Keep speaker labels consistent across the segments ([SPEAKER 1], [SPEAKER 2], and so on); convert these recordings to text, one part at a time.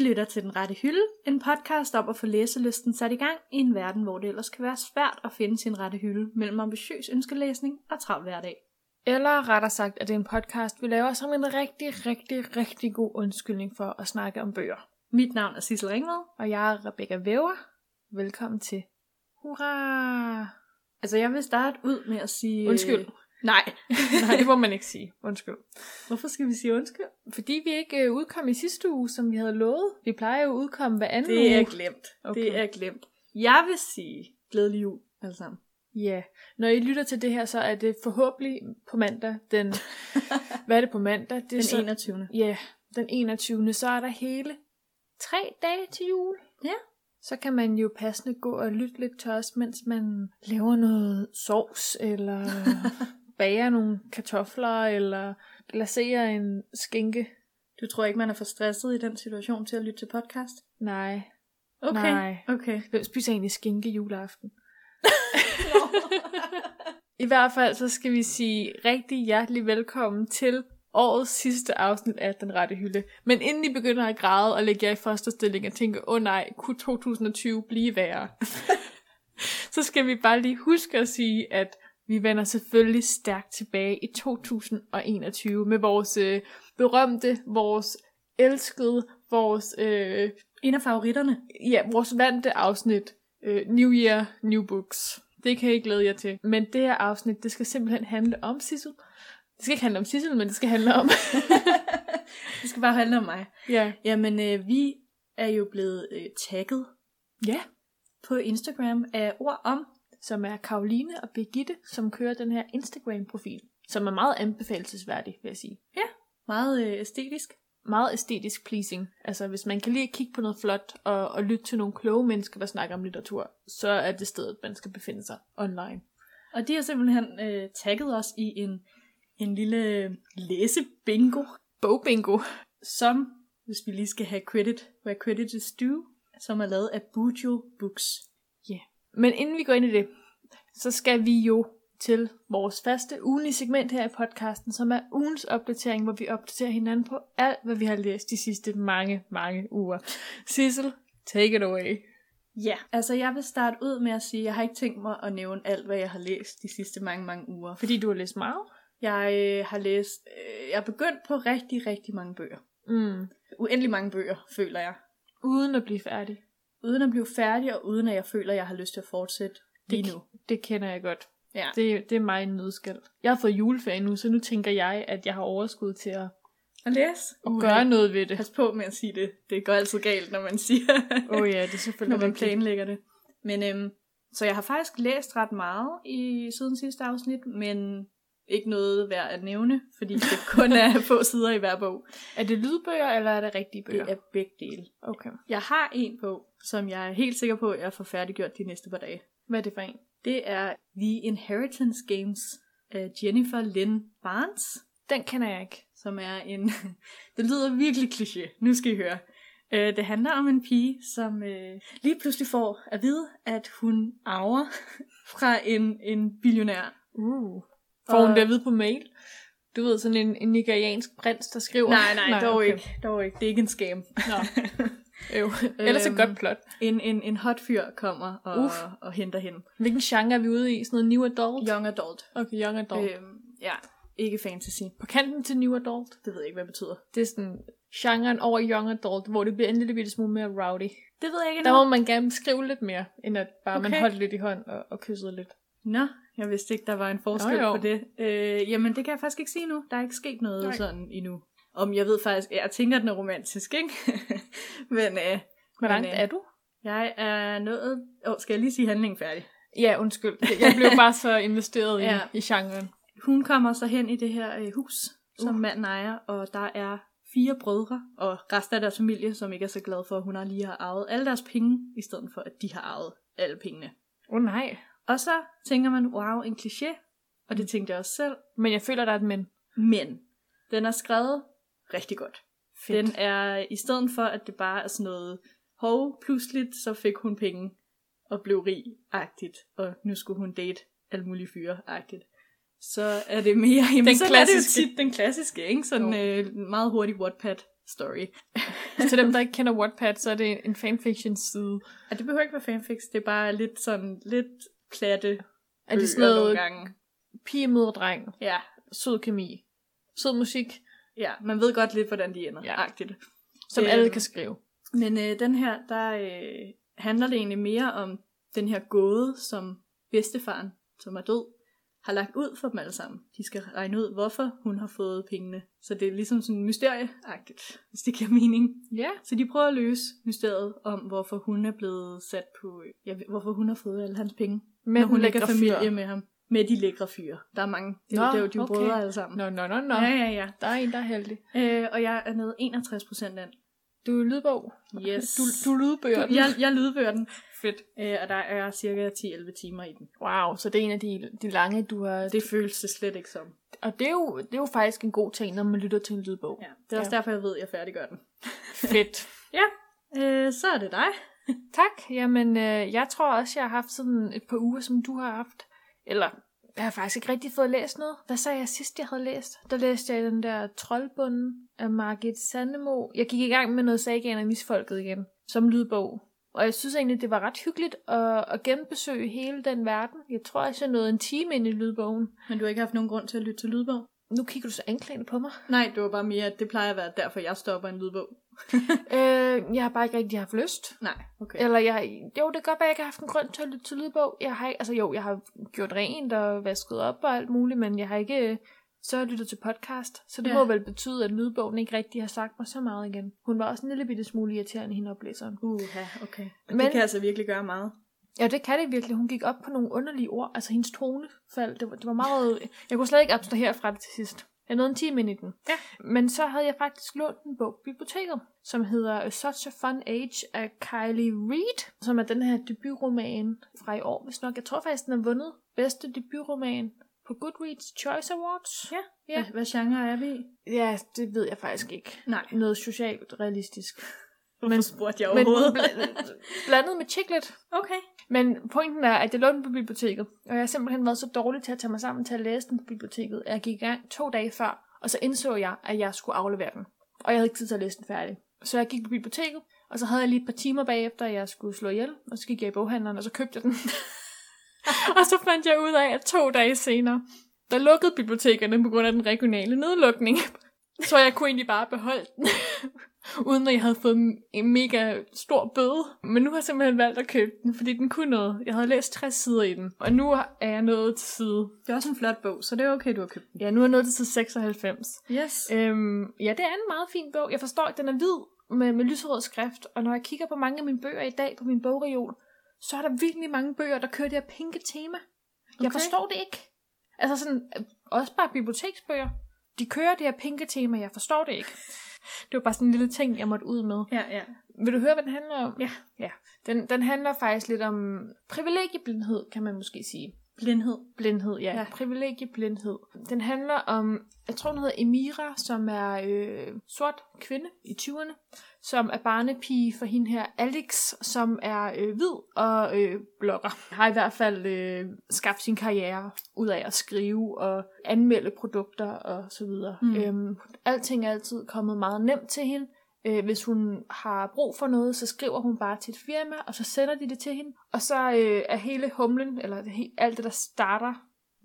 [SPEAKER 1] lytter til Den Rette Hylde, en podcast om at få læselysten sat i gang i en verden, hvor det ellers kan være svært at finde sin rette hylde mellem ambitiøs ønskelæsning og travl hverdag.
[SPEAKER 2] Eller rettere sagt, at det er en podcast, vi laver som en rigtig, rigtig, rigtig god undskyldning for at snakke om bøger.
[SPEAKER 1] Mit navn er Sissel Ringvad.
[SPEAKER 2] Og jeg er Rebecca Væver. Velkommen til. Hurra!
[SPEAKER 1] Altså, jeg vil starte ud med at sige... øh,
[SPEAKER 2] Undskyld. Nej, nej, det må man ikke sige. Undskyld.
[SPEAKER 1] Hvorfor skal vi sige undskyld?
[SPEAKER 2] Fordi vi ikke øh, udkom i sidste uge, som vi havde lovet. Vi plejer jo at udkomme hver anden
[SPEAKER 1] Det er
[SPEAKER 2] uge.
[SPEAKER 1] glemt. Okay.
[SPEAKER 2] Okay.
[SPEAKER 1] Det er glemt. Jeg vil sige glædelig jul, alle sammen.
[SPEAKER 2] Ja. Når I lytter til det her, så er det forhåbentlig på mandag den... Hvad er det på mandag? Det er
[SPEAKER 1] Den
[SPEAKER 2] så,
[SPEAKER 1] 21.
[SPEAKER 2] Ja, den 21. Så er der hele tre dage til jul.
[SPEAKER 1] Ja.
[SPEAKER 2] Så kan man jo passende gå og lytte lidt til os, mens man laver noget sovs, eller bager nogle kartofler, eller glaserer en skinke.
[SPEAKER 1] Du tror ikke, man er for stresset i den situation til at lytte til podcast?
[SPEAKER 2] Nej,
[SPEAKER 1] Okay.
[SPEAKER 2] Nej.
[SPEAKER 1] Okay.
[SPEAKER 2] Hvem spiser egentlig skinke juleaften? I hvert fald så skal vi sige rigtig hjertelig velkommen til årets sidste afsnit af Den Rette Hylde. Men inden I begynder at græde og lægge jer i fosterstilling og tænke, åh oh nej, kunne 2020 blive værre? så skal vi bare lige huske at sige, at vi vender selvfølgelig stærkt tilbage i 2021 med vores øh, berømte, vores elskede, vores øh,
[SPEAKER 1] En af favoritterne.
[SPEAKER 2] ja, vores vante afsnit, øh, New Year, New Books. Det kan I glæde jer til. Men det her afsnit, det skal simpelthen handle om Sissel. Det skal ikke handle om Sissel, men det skal handle om...
[SPEAKER 1] Det skal bare handle om mig.
[SPEAKER 2] ja.
[SPEAKER 1] Jamen, øh, vi er jo blevet øh, tagget
[SPEAKER 2] ja,
[SPEAKER 1] på Instagram af ord om.
[SPEAKER 2] som er Karoline og Birgitte, som kører den her Instagram-profil, som er meget anbefalelsesværdig, vil jeg sige.
[SPEAKER 1] Meget øh, æstetisk.
[SPEAKER 2] Meget æstetisk pleasing. Altså, hvis man kan lige kigge på noget flot og, og lytte til nogle kloge mennesker, der snakker om litteratur, så er det stedet, man skal befinde sig online.
[SPEAKER 1] Og de har simpelthen øh, tagget os i en, en lille
[SPEAKER 2] øh,
[SPEAKER 1] læsebingo,
[SPEAKER 2] Bogbingo.
[SPEAKER 1] som, hvis vi lige skal have credit, hvad credit is due, som er lavet af Bujo Books.
[SPEAKER 2] Men inden vi går ind i det, så skal vi jo til vores faste ugenlige segment her i podcasten, som er ugens opdatering, hvor vi opdaterer hinanden på alt, hvad vi har læst de sidste mange, mange uger. Sissel, take it away.
[SPEAKER 1] Ja, altså jeg vil starte ud med at sige, at jeg har ikke tænkt mig at nævne alt, hvad jeg har læst de sidste mange, mange uger.
[SPEAKER 2] Fordi du har læst meget.
[SPEAKER 1] Jeg øh, har læst, øh, jeg er begyndt på rigtig, rigtig mange bøger.
[SPEAKER 2] Mm.
[SPEAKER 1] Uendelig mange bøger, føler jeg.
[SPEAKER 2] Uden at blive færdig.
[SPEAKER 1] Uden at blive færdig, og uden at jeg føler, at jeg har lyst til at fortsætte lige
[SPEAKER 2] Det-
[SPEAKER 1] nu.
[SPEAKER 2] Det kender jeg godt.
[SPEAKER 1] Ja.
[SPEAKER 2] Det, det er mig en nødskal. Jeg har fået juleferie nu, så nu tænker jeg, at jeg har overskud til at,
[SPEAKER 1] At læse.
[SPEAKER 2] at gøre noget ved det.
[SPEAKER 1] Pas på med at sige det. Det går altid galt, når man siger,
[SPEAKER 2] Åh oh, ja, det er
[SPEAKER 1] når
[SPEAKER 2] selvfølgelig
[SPEAKER 1] man
[SPEAKER 2] rigtigt.
[SPEAKER 1] planlægger det. Men øhm, så jeg har faktisk læst ret meget i siden sidste afsnit, men ikke noget værd at nævne, fordi det kun er få sider i hver bog.
[SPEAKER 2] Er det lydbøger, eller er det rigtige bøger?
[SPEAKER 1] Det er begge dele.
[SPEAKER 2] Okay.
[SPEAKER 1] Jeg har en bog, som jeg er helt sikker på, at jeg får færdiggjort de næste par dage.
[SPEAKER 2] Hvad er det for en?
[SPEAKER 1] Det er The Inheritance Games af Jennifer Lynn Barnes,
[SPEAKER 2] Den kender jeg ikke.
[SPEAKER 1] som er en... det lyder virkelig kliché, nu skal I høre. Øh, Det handler om en pige, som øh, lige pludselig får at vide, at hun arver fra en, en billionær.
[SPEAKER 2] Uh. Får hun
[SPEAKER 1] Og-
[SPEAKER 2] det at vide på mail? Du ved, sådan en, en nigeriansk prins, der skriver.
[SPEAKER 1] Nej, nej, nej dog,
[SPEAKER 2] okay.
[SPEAKER 1] okay. ikke, dog ikke. Det er ikke en scam.
[SPEAKER 2] Nå. Øv. Ellers et
[SPEAKER 1] Øhm.
[SPEAKER 2] godt plot.
[SPEAKER 1] En, en, en hot fyr kommer og,
[SPEAKER 2] Uf.
[SPEAKER 1] og henter hende.
[SPEAKER 2] Hvilken genre er vi ude i? Sådan noget new adult?
[SPEAKER 1] Young adult.
[SPEAKER 2] Okay, young adult. Øh.
[SPEAKER 1] Øhm, ja, ikke fantasy.
[SPEAKER 2] På kanten til new adult.
[SPEAKER 1] Det ved jeg ikke, hvad det betyder.
[SPEAKER 2] Det er sådan genren over young adult, hvor det bliver en lille bitte smule mere rowdy.
[SPEAKER 1] Det ved jeg ikke
[SPEAKER 2] Der må man gerne skrive lidt mere, end at bare okay.
[SPEAKER 1] Okay.
[SPEAKER 2] man holdt lidt i hånd og, og kyssede lidt.
[SPEAKER 1] Nå, jeg vidste ikke, der var en forskel
[SPEAKER 2] Nå, jo.
[SPEAKER 1] på det. Øh, jamen, det kan jeg faktisk ikke sige nu. Der er ikke sket noget Nej.
[SPEAKER 2] Nej.
[SPEAKER 1] sådan endnu. Om jeg ved faktisk, jeg tænker, den er romantisk, ikke? Men øh,
[SPEAKER 2] Hvor
[SPEAKER 1] Men,
[SPEAKER 2] langt
[SPEAKER 1] øh,
[SPEAKER 2] er du?
[SPEAKER 1] jeg er nået... Åh, oh, skal jeg lige sige handlingen færdig?
[SPEAKER 2] Ja, undskyld. Jeg blev bare så investeret i,
[SPEAKER 1] Ja.
[SPEAKER 2] i genren.
[SPEAKER 1] Hun kommer så hen i det her øh, hus, som
[SPEAKER 2] Uh.
[SPEAKER 1] manden ejer, og der er fire brødre og resten af deres familie, som ikke er så glade for, at hun har lige har arvet alle deres penge, i stedet for, at de har arvet alle pengene.
[SPEAKER 2] Åh oh, nej.
[SPEAKER 1] Og så tænker man, wow, en kliché, og det tænkte jeg også selv,
[SPEAKER 2] Men jeg føler, der er et men.
[SPEAKER 1] Men den er skrevet rigtig godt.
[SPEAKER 2] Fedt.
[SPEAKER 1] Den er, i stedet for at det bare er sådan noget, hov, pludseligt så fik hun penge og blev rig-agtigt, og nu skulle hun date alle mulige fyre-agtigt. Så er det mere, jamen,
[SPEAKER 2] Den
[SPEAKER 1] den så klassiske. er det jo
[SPEAKER 2] klassiske.
[SPEAKER 1] tit den klassiske, ikke? Sådan øh, meget hurtig Wattpad-story.
[SPEAKER 2] Til dem, der ikke kender Wattpad, så er det en fanfiction-side.
[SPEAKER 1] Ja, det behøver ikke være fanfics, det er bare lidt sådan, lidt platte
[SPEAKER 2] Er det sådan
[SPEAKER 1] bøger nogle
[SPEAKER 2] noget
[SPEAKER 1] gange.
[SPEAKER 2] pige møder dreng,
[SPEAKER 1] Ja,
[SPEAKER 2] sød kemi, sød musik,
[SPEAKER 1] ja, man ved godt lidt, hvordan de ender,
[SPEAKER 2] Ja.
[SPEAKER 1] ja. agtigt.
[SPEAKER 2] som
[SPEAKER 1] Øhm.
[SPEAKER 2] alle kan skrive.
[SPEAKER 1] Men øh, den her, der øh, handler det egentlig mere om den her gåde, som bedstefaren, som er død, har lagt ud for dem alle sammen. De skal regne ud, hvorfor hun har fået pengene. Så det er ligesom sådan mysterieagtigt, hvis det giver mening.
[SPEAKER 2] Ja.
[SPEAKER 1] Så de prøver at løse mysteriet om, hvorfor hun er blevet sat på... Ja, hvorfor hun har fået alle hans penge,
[SPEAKER 2] Men
[SPEAKER 1] når hun ikke er familie
[SPEAKER 2] Fyr.
[SPEAKER 1] med ham. Med de lækre fyre. Der er mange. Det, Nå,
[SPEAKER 2] Nå,
[SPEAKER 1] det er jo de
[SPEAKER 2] okay.
[SPEAKER 1] okay. brødre alle sammen.
[SPEAKER 2] Nå, nå, nå, nå.
[SPEAKER 1] Ja, ja, ja.
[SPEAKER 2] Der er en, der er heldig.
[SPEAKER 1] Øh, og jeg er nede 61 procent ind.
[SPEAKER 2] Du er lydbog.
[SPEAKER 1] Yes.
[SPEAKER 2] Du, du lydbøger den.
[SPEAKER 1] jeg, jeg lydbøger den.
[SPEAKER 2] Fedt.
[SPEAKER 1] Øh, og der er cirka 10-11 timer i den.
[SPEAKER 2] Wow, så det er en af de, de lange, du har...
[SPEAKER 1] Det føles det slet ikke som.
[SPEAKER 2] Og det er, jo, det er jo faktisk en god ting, når man lytter til en lydbog.
[SPEAKER 1] Ja, det er også
[SPEAKER 2] Ja.
[SPEAKER 1] ja. derfor, jeg ved, at jeg færdiggør den.
[SPEAKER 2] Fedt.
[SPEAKER 1] Ja, øh, så er det dig.
[SPEAKER 2] Tak. Jamen, øh, jeg tror også, jeg har haft sådan et par uger, som du har haft. Eller, jeg har faktisk ikke rigtig fået læst noget. Hvad sagde jeg sidst, jeg havde læst? Der læste jeg den der Troldbunden af Margit Sandemo. Jeg gik i gang med noget Sagan og Misfolket igen, som lydbog. Og jeg synes egentlig, det var ret hyggeligt at, at genbesøge hele den verden. Jeg tror også, jeg nåede en time ind i lydbogen.
[SPEAKER 1] Men du har ikke haft nogen grund til at lytte til lydbog?
[SPEAKER 2] Nu kigger du så anklagende på mig.
[SPEAKER 1] Nej, det var bare mere, at det plejer at være derfor, jeg stopper en lydbog.
[SPEAKER 2] Øh, jeg har bare ikke rigtig haft lyst.
[SPEAKER 1] Nej, okay.
[SPEAKER 2] Eller jeg, jo, det kan godt være, at jeg ikke har haft en grund til at lytte til lydbog. Jeg har, ikke- altså jo, jeg har gjort rent og vasket op og alt muligt, men jeg har ikke øh, så har jeg lyttet til podcast. Så det ja.
[SPEAKER 1] Ja.
[SPEAKER 2] må vel betyde, at lydbogen ikke rigtig har sagt mig så meget igen. Hun var også en lille bitte smule irriterende, hende oplæseren.
[SPEAKER 1] Uha, okay. Og
[SPEAKER 2] Men-
[SPEAKER 1] det kan altså virkelig gøre meget.
[SPEAKER 2] Ja, det kan det virkelig. Hun gik op på nogle underlige ord. Altså hendes tonefald, det var, det var meget... Jeg kunne slet ikke abstrahere fra det til sidst. Jeg nåede en time ind i den.
[SPEAKER 1] Ja.
[SPEAKER 2] Men så havde jeg faktisk lånt en bog på biblioteket, som hedder Such a Fun Age af Kylie Reid, som er den her debutroman fra i år, hvis nok. Jeg tror faktisk, den har vundet bedste debutroman på Goodreads Choice Awards.
[SPEAKER 1] Ja.
[SPEAKER 2] Ja.
[SPEAKER 1] Hvad, hvad genre er vi i?
[SPEAKER 2] ja det ved jeg faktisk ikke.
[SPEAKER 1] Nej,
[SPEAKER 2] Noget socialt realistisk.
[SPEAKER 1] men spurgte jeg
[SPEAKER 2] Men
[SPEAKER 1] overhovedet.
[SPEAKER 2] bl- blandet med chiclet.
[SPEAKER 1] okay.
[SPEAKER 2] Men pointen er, at jeg lånte den på biblioteket, og jeg har simpelthen været så dårlig til at tage mig sammen til at læse den på biblioteket, at jeg gik i gang to dage før, og så indså jeg, at jeg skulle aflevere den. Og jeg havde ikke tid til at læse den færdig. Så jeg gik på biblioteket, og så havde jeg lige et par timer bagefter, at jeg skulle slå ihjel, og så gik jeg i boghandleren, og så købte jeg den. og så fandt jeg ud af, at to dage senere, der lukkede bibliotekerne på grund af den regionale nedlukning. Så jeg kunne egentlig bare beholde den, uden at jeg havde fået en mega stor bøde. Men nu har jeg simpelthen valgt at købe den, fordi den kunne noget. Jeg havde læst 60 sider i den, og nu er jeg nået til side...
[SPEAKER 1] Det er også en flot bog, så det er okay, du har købt den. Øh,
[SPEAKER 2] Ja, nu er jeg nået til side 96.
[SPEAKER 1] Yes.
[SPEAKER 2] Øhm, ja, det er en meget fin bog. Jeg forstår, at den er hvid med, med lyserød skrift, og når jeg kigger på mange af mine bøger i dag på min bogreol, så er der virkelig mange bøger, der kører det her pinke tema. Okay. Jeg
[SPEAKER 1] Okay.
[SPEAKER 2] forstår det ikke. Altså sådan, øh, også bare biblioteksbøger. De kører det her pinke tema, jeg forstår det ikke. Det var bare sådan en lille ting, jeg måtte ud med.
[SPEAKER 1] Ja, ja.
[SPEAKER 2] Vil du høre, hvad den handler om?
[SPEAKER 1] Ja.
[SPEAKER 2] ja. Den, den handler faktisk lidt om privilegieblindhed, kan man måske sige.
[SPEAKER 1] Blindhed.
[SPEAKER 2] Blindhed, ja. ja.
[SPEAKER 1] Ja.
[SPEAKER 2] Privilegieblindhed. Den handler om, jeg tror hun hedder Emira, som er øh, sort kvinde i 20'erne, som er barnepige for hende her Alex, som er øh, hvid og øh, blogger. Har i hvert fald øh, skabt sin karriere ud af at skrive og anmelde produkter og så videre. Mm.
[SPEAKER 1] Mm.
[SPEAKER 2] Øhm, alting er altid kommet meget nemt til hende. Øh, hvis hun har brug for noget, så skriver hun bare til et firma, og så sender de det til hende. Og så øh, er hele humlen, eller det he- alt det, der starter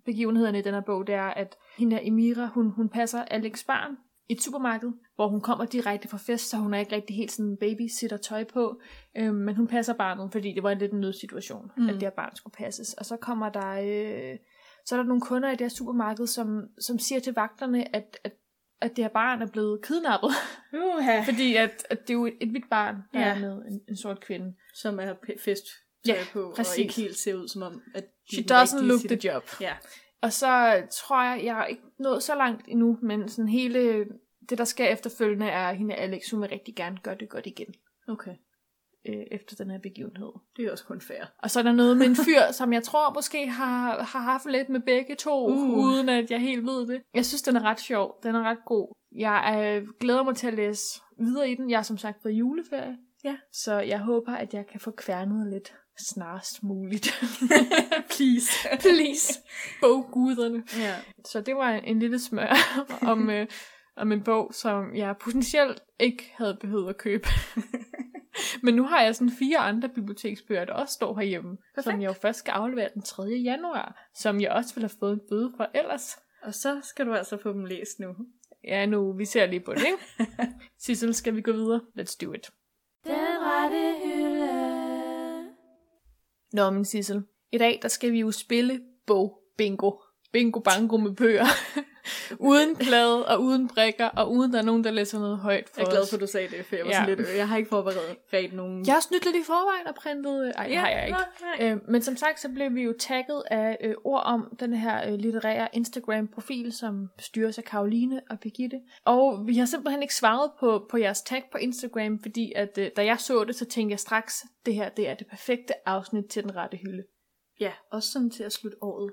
[SPEAKER 2] begivenhederne i den her bog, det er, at hende her Emira, hun, hun passer Alex barn i et supermarked, hvor hun kommer direkte fra fest, så hun er ikke rigtig helt sådan babysitter tøj på, øh, men hun passer barnet, fordi det var en lidt en nødsituation, mm.
[SPEAKER 1] Mm.
[SPEAKER 2] at det her barn skulle passes. Og så kommer der, øh, så er der nogle kunder i det her supermarked, som, som siger til vagterne, at, at, at det her barn er blevet kidnappet.
[SPEAKER 1] Uha.
[SPEAKER 2] Fordi at, at det er jo et, et hvidt barn, der
[SPEAKER 1] Ja.
[SPEAKER 2] er med en, en sort kvinde.
[SPEAKER 1] Som er p- fest
[SPEAKER 2] Ja,
[SPEAKER 1] på,
[SPEAKER 2] præcis.
[SPEAKER 1] og ikke helt ser ud som om, at de
[SPEAKER 2] She
[SPEAKER 1] er den
[SPEAKER 2] doesn't
[SPEAKER 1] rigtige
[SPEAKER 2] look
[SPEAKER 1] til
[SPEAKER 2] the job.
[SPEAKER 1] Ja,
[SPEAKER 2] Og så tror jeg, jeg har ikke nået så langt endnu, men sådan hele det, der sker efterfølgende, er, at hende Alex, hun vil rigtig gerne gøre det godt igen,
[SPEAKER 1] okay.
[SPEAKER 2] øh, efter den her begivenhed.
[SPEAKER 1] Det er også kun fair.
[SPEAKER 2] Og så er der noget med en fyr, som jeg tror måske har, har haft lidt med begge to, uh.
[SPEAKER 1] Uh.
[SPEAKER 2] uden at jeg helt ved det. Jeg synes, den er ret sjov. Den er ret god. Jeg øh, glæder mig til at læse videre i den. Jeg har som sagt på juleferie.
[SPEAKER 1] Ja.
[SPEAKER 2] Så jeg håber, at jeg kan få kværnet lidt snarest muligt.
[SPEAKER 1] Please.
[SPEAKER 2] Please. Bogguderne.
[SPEAKER 1] ja.
[SPEAKER 2] Så det var en, en lille smør om, øh, om en bog, som jeg potentielt ikke havde behøvet at købe. Men nu har jeg sådan fire andre biblioteksbøger, der også står herhjemme, Perfekt. som
[SPEAKER 1] Perfekt.
[SPEAKER 2] jeg jo først skal aflevere den 3. januar, som jeg også ville have fået en bøde for ellers.
[SPEAKER 1] Og så skal du altså få dem læst nu.
[SPEAKER 2] Ja, nu, vi ser lige på det, ikke? Sissel, skal vi gå videre? Let's do it.
[SPEAKER 3] Den rette hylde.
[SPEAKER 2] Nå, men Sissel, i dag der skal vi jo spille bog bingo. Bingo bango med bøger. uden plade og uden brækker, og uden der er nogen, der læser noget højt for
[SPEAKER 1] Jeg er glad
[SPEAKER 2] os.
[SPEAKER 1] for, at du sagde det, for jeg var sådan
[SPEAKER 2] Ja.
[SPEAKER 1] lidt... øh, Jeg har ikke forberedt ret nogen...
[SPEAKER 2] Jeg har snydt lidt i forvejen og printet... Ej, ja, har jeg ikke. Øh, men som sagt, så blev vi jo tagget af øh, ord om den her øh, litterære Instagram-profil, som styres af Karoline og Birgitte. Og vi har simpelthen ikke svaret på, på jeres tag på Instagram, fordi at, øh, da jeg så det, så tænkte jeg straks, det her det er det perfekte afsnit til den rette hylde.
[SPEAKER 1] Ja, også sådan til at slutte året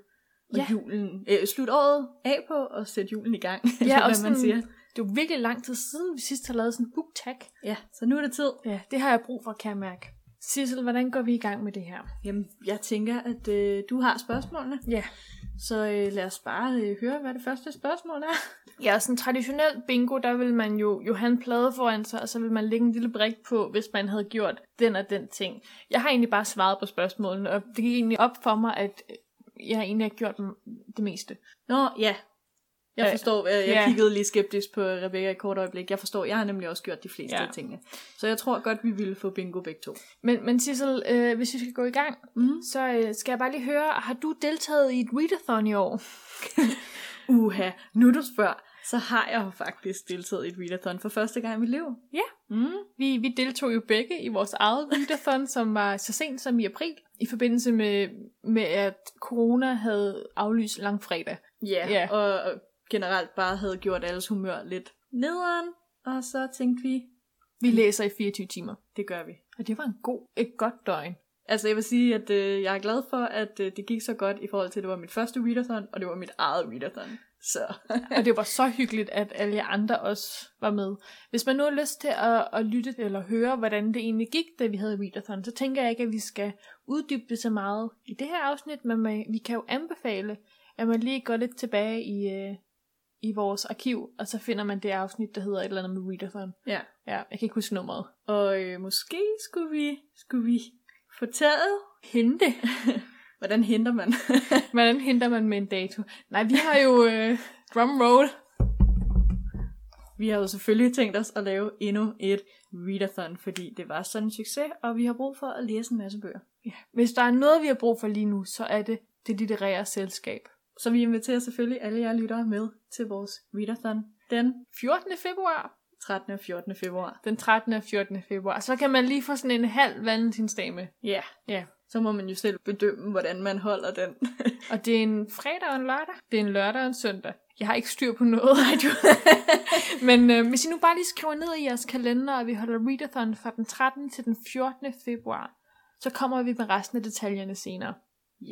[SPEAKER 1] og
[SPEAKER 2] Ja.
[SPEAKER 1] ja. julen. Øh, slut året af på og sætte julen i gang, eller
[SPEAKER 2] og
[SPEAKER 1] hvad
[SPEAKER 2] sådan-
[SPEAKER 1] man siger.
[SPEAKER 2] Det er jo virkelig lang tid siden, vi sidst har lavet sådan en book tag.
[SPEAKER 1] Ja, så nu er det tid.
[SPEAKER 2] Ja, det har jeg brug for, kan jeg mærke. Sissel, hvordan går vi i gang med det her?
[SPEAKER 1] Jamen, jeg tænker, at øh, du har spørgsmålene,
[SPEAKER 2] Ja.
[SPEAKER 1] så øh, lad os bare øh, høre, hvad det første spørgsmål er.
[SPEAKER 2] Ja, sådan traditionel bingo, der vil man jo, jo have en plade foran sig, og så vil man lægge en lille brik på, hvis man havde gjort den og den ting. Jeg har egentlig bare svaret på spørgsmålene, og det gik egentlig op for mig, at øh, jeg egentlig har gjort m- det meste.
[SPEAKER 1] Nå, ja. Jeg
[SPEAKER 2] Øh,
[SPEAKER 1] forstår, jeg, jeg
[SPEAKER 2] ja.
[SPEAKER 1] kiggede lige skeptisk på Rebecca et kort øjeblik. Jeg forstår, jeg har nemlig også gjort de fleste
[SPEAKER 2] Ja.
[SPEAKER 1] ja. af tingene. Så jeg tror godt, vi ville få bingo begge to.
[SPEAKER 2] Men, men Sissel, øh, hvis vi skal gå i gang,
[SPEAKER 1] Mhm.
[SPEAKER 2] så øh, skal jeg bare lige høre, har du deltaget i et readathon i år?
[SPEAKER 1] Uha, nu du spørger, så har jeg jo faktisk deltaget i et readathon for første gang i mit liv.
[SPEAKER 2] Ja.
[SPEAKER 1] Mm.
[SPEAKER 2] Vi, vi deltog jo begge i vores eget readathon, som var så sent som i april, i forbindelse med, med at corona havde aflyst langfredag.
[SPEAKER 1] Ja,
[SPEAKER 2] Ja.
[SPEAKER 1] yeah. og og generelt bare havde gjort alles humør lidt nederen. Og så tænkte vi,
[SPEAKER 2] Vi læser i 24 timer.
[SPEAKER 1] det gør vi.
[SPEAKER 2] Og det var en god, et godt døgn.
[SPEAKER 1] Altså jeg vil sige, at øh, jeg er glad for, at øh, det gik så godt i forhold til, at det var mit første readathon, og det var mit eget readathon. Så
[SPEAKER 2] Og det var så hyggeligt, at alle jer andre også var med. Hvis man nu har lyst til at, at lytte eller høre, hvordan det egentlig gik, da vi havde readathon, så tænker jeg ikke, at vi skal uddybe det så meget i det her afsnit, men man, vi kan jo anbefale, at man lige går lidt tilbage i, øh, i vores arkiv, og så finder man det afsnit, der hedder et eller andet med readathon.
[SPEAKER 1] ja,
[SPEAKER 2] Ja, jeg kan ikke huske nummeret.
[SPEAKER 1] og øh, måske skulle vi, skulle vi fortælle,
[SPEAKER 2] Hente.
[SPEAKER 1] hvordan henter man?
[SPEAKER 2] Hvordan henter man med en dato? Nej, vi har jo øh, drumroll.
[SPEAKER 1] vi har jo selvfølgelig tænkt os at lave endnu et readathon, fordi det var sådan en succes, og vi har brug for at læse en masse bøger.
[SPEAKER 2] Hvis der er noget, vi har brug for lige nu, så er det det litterære selskab.
[SPEAKER 1] Så vi inviterer selvfølgelig alle jer lyttere med til vores readathon den
[SPEAKER 2] 14. februar.
[SPEAKER 1] 13. og 14. februar.
[SPEAKER 2] Den 13. og 14. februar. Så kan man lige få sådan en halv valentinsdag med.
[SPEAKER 1] Ja, yeah.
[SPEAKER 2] Ja.
[SPEAKER 1] så må man jo selv bedømme, hvordan man holder den.
[SPEAKER 2] Og det er en fredag og en lørdag. Det er en lørdag og en søndag. Jeg har ikke styr på noget. Nej, du... Men øh, hvis I nu bare lige skriver ned i jeres kalender, at vi holder readathon fra den 13. til den 14. februar, så kommer vi med resten af detaljerne senere.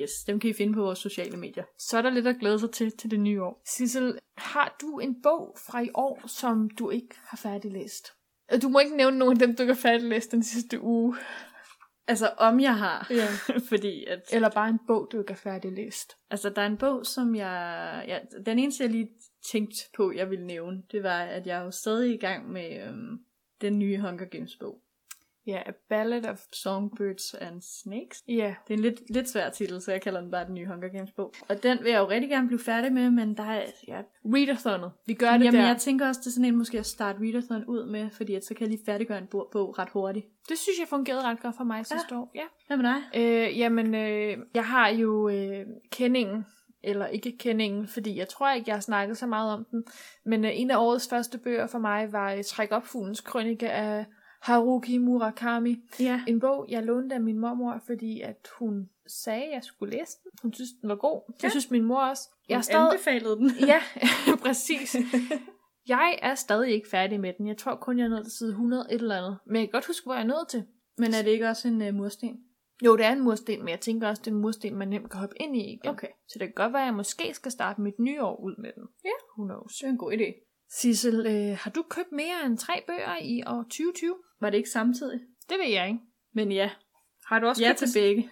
[SPEAKER 1] yes, dem kan I finde på vores sociale medier.
[SPEAKER 2] Så er der lidt at glæde sig til til det nye år. Sissel, har du en bog fra i år, som du ikke har færdiglæst? Øh, Du må ikke nævne nogen af dem, du ikke har færdiglæst den sidste uge.
[SPEAKER 1] Altså, om jeg har.
[SPEAKER 2] Ja.
[SPEAKER 1] Fordi at,
[SPEAKER 2] Eller bare en bog, du ikke har færdiglæst.
[SPEAKER 1] altså, der er en bog, som jeg... Ja, den eneste, jeg lige tænkte på, jeg ville nævne, det var, at jeg er jo stadig i gang med øhm, den nye Hunger Games bog.
[SPEAKER 2] Ja, A Ballad of...
[SPEAKER 1] Songbirds and Snakes.
[SPEAKER 2] Ja,
[SPEAKER 1] Det er en lidt, lidt svær titel, så jeg kalder den bare den nye Hunger Games bog. Og den vil jeg jo rigtig gerne blive færdig med, men der er, jeg
[SPEAKER 2] readathonet. Vi gør det
[SPEAKER 1] Jamen,
[SPEAKER 2] der.
[SPEAKER 1] jeg tænker også, det er sådan en måske at starte readathon ud med, fordi at så kan jeg lige færdiggøre en bog, bog ret hurtigt.
[SPEAKER 2] Det synes jeg fungerede ret godt for mig sidste år. Ja.
[SPEAKER 1] Hvad med dig?
[SPEAKER 2] Øh, jamen, øh, jeg har jo øh, kendingen, eller ikke kendingen, fordi jeg tror ikke, jeg har snakket så meget om den. Men øh, en af årets første bøger for mig var øh, Træk op fuglens krønike af Haruki Murakami.
[SPEAKER 1] Ja.
[SPEAKER 2] En bog, jeg lånte af min mormor, fordi at hun sagde, at jeg skulle læse den. Hun synes, den var god. Det
[SPEAKER 1] Ja.
[SPEAKER 2] synes min mor også. Jeg er
[SPEAKER 1] Jeg
[SPEAKER 2] stadig...
[SPEAKER 1] anbefalede den.
[SPEAKER 2] Ja, præcis. Jeg er stadig ikke færdig med den. Jeg tror kun, jeg er nået til side 100 et eller andet. Men jeg kan godt huske, hvor jeg er nået til.
[SPEAKER 1] Men er det ikke også en uh, mursten?
[SPEAKER 2] øh, Jo, det er en mursten, men jeg tænker også, det er en mursten, man nemt kan hoppe ind i igen.
[SPEAKER 1] Okay.
[SPEAKER 2] Så det kan godt være, at jeg måske skal starte mit nye år ud med den. Ja. Who knows.
[SPEAKER 1] Det er en god idé.
[SPEAKER 2] Sissel, øh, har du købt mere end tre bøger i år 2020?
[SPEAKER 1] Var det ikke samtidig?
[SPEAKER 2] Det ved jeg ikke.
[SPEAKER 1] Men ja,
[SPEAKER 2] Har du også
[SPEAKER 1] ja
[SPEAKER 2] købt
[SPEAKER 1] til begge.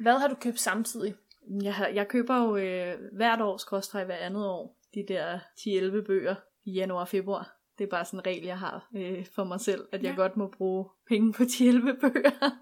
[SPEAKER 2] Hvad har du købt samtidig?
[SPEAKER 1] Jeg, har- jeg køber jo øh, hvert år, skråstrej hver andet år, de der 10-11 bøger, i januar og februar. Det er bare sådan en regel, jeg har øh, for mig selv, at jeg
[SPEAKER 2] Ja.
[SPEAKER 1] ja. godt må bruge penge på de hjælpebøger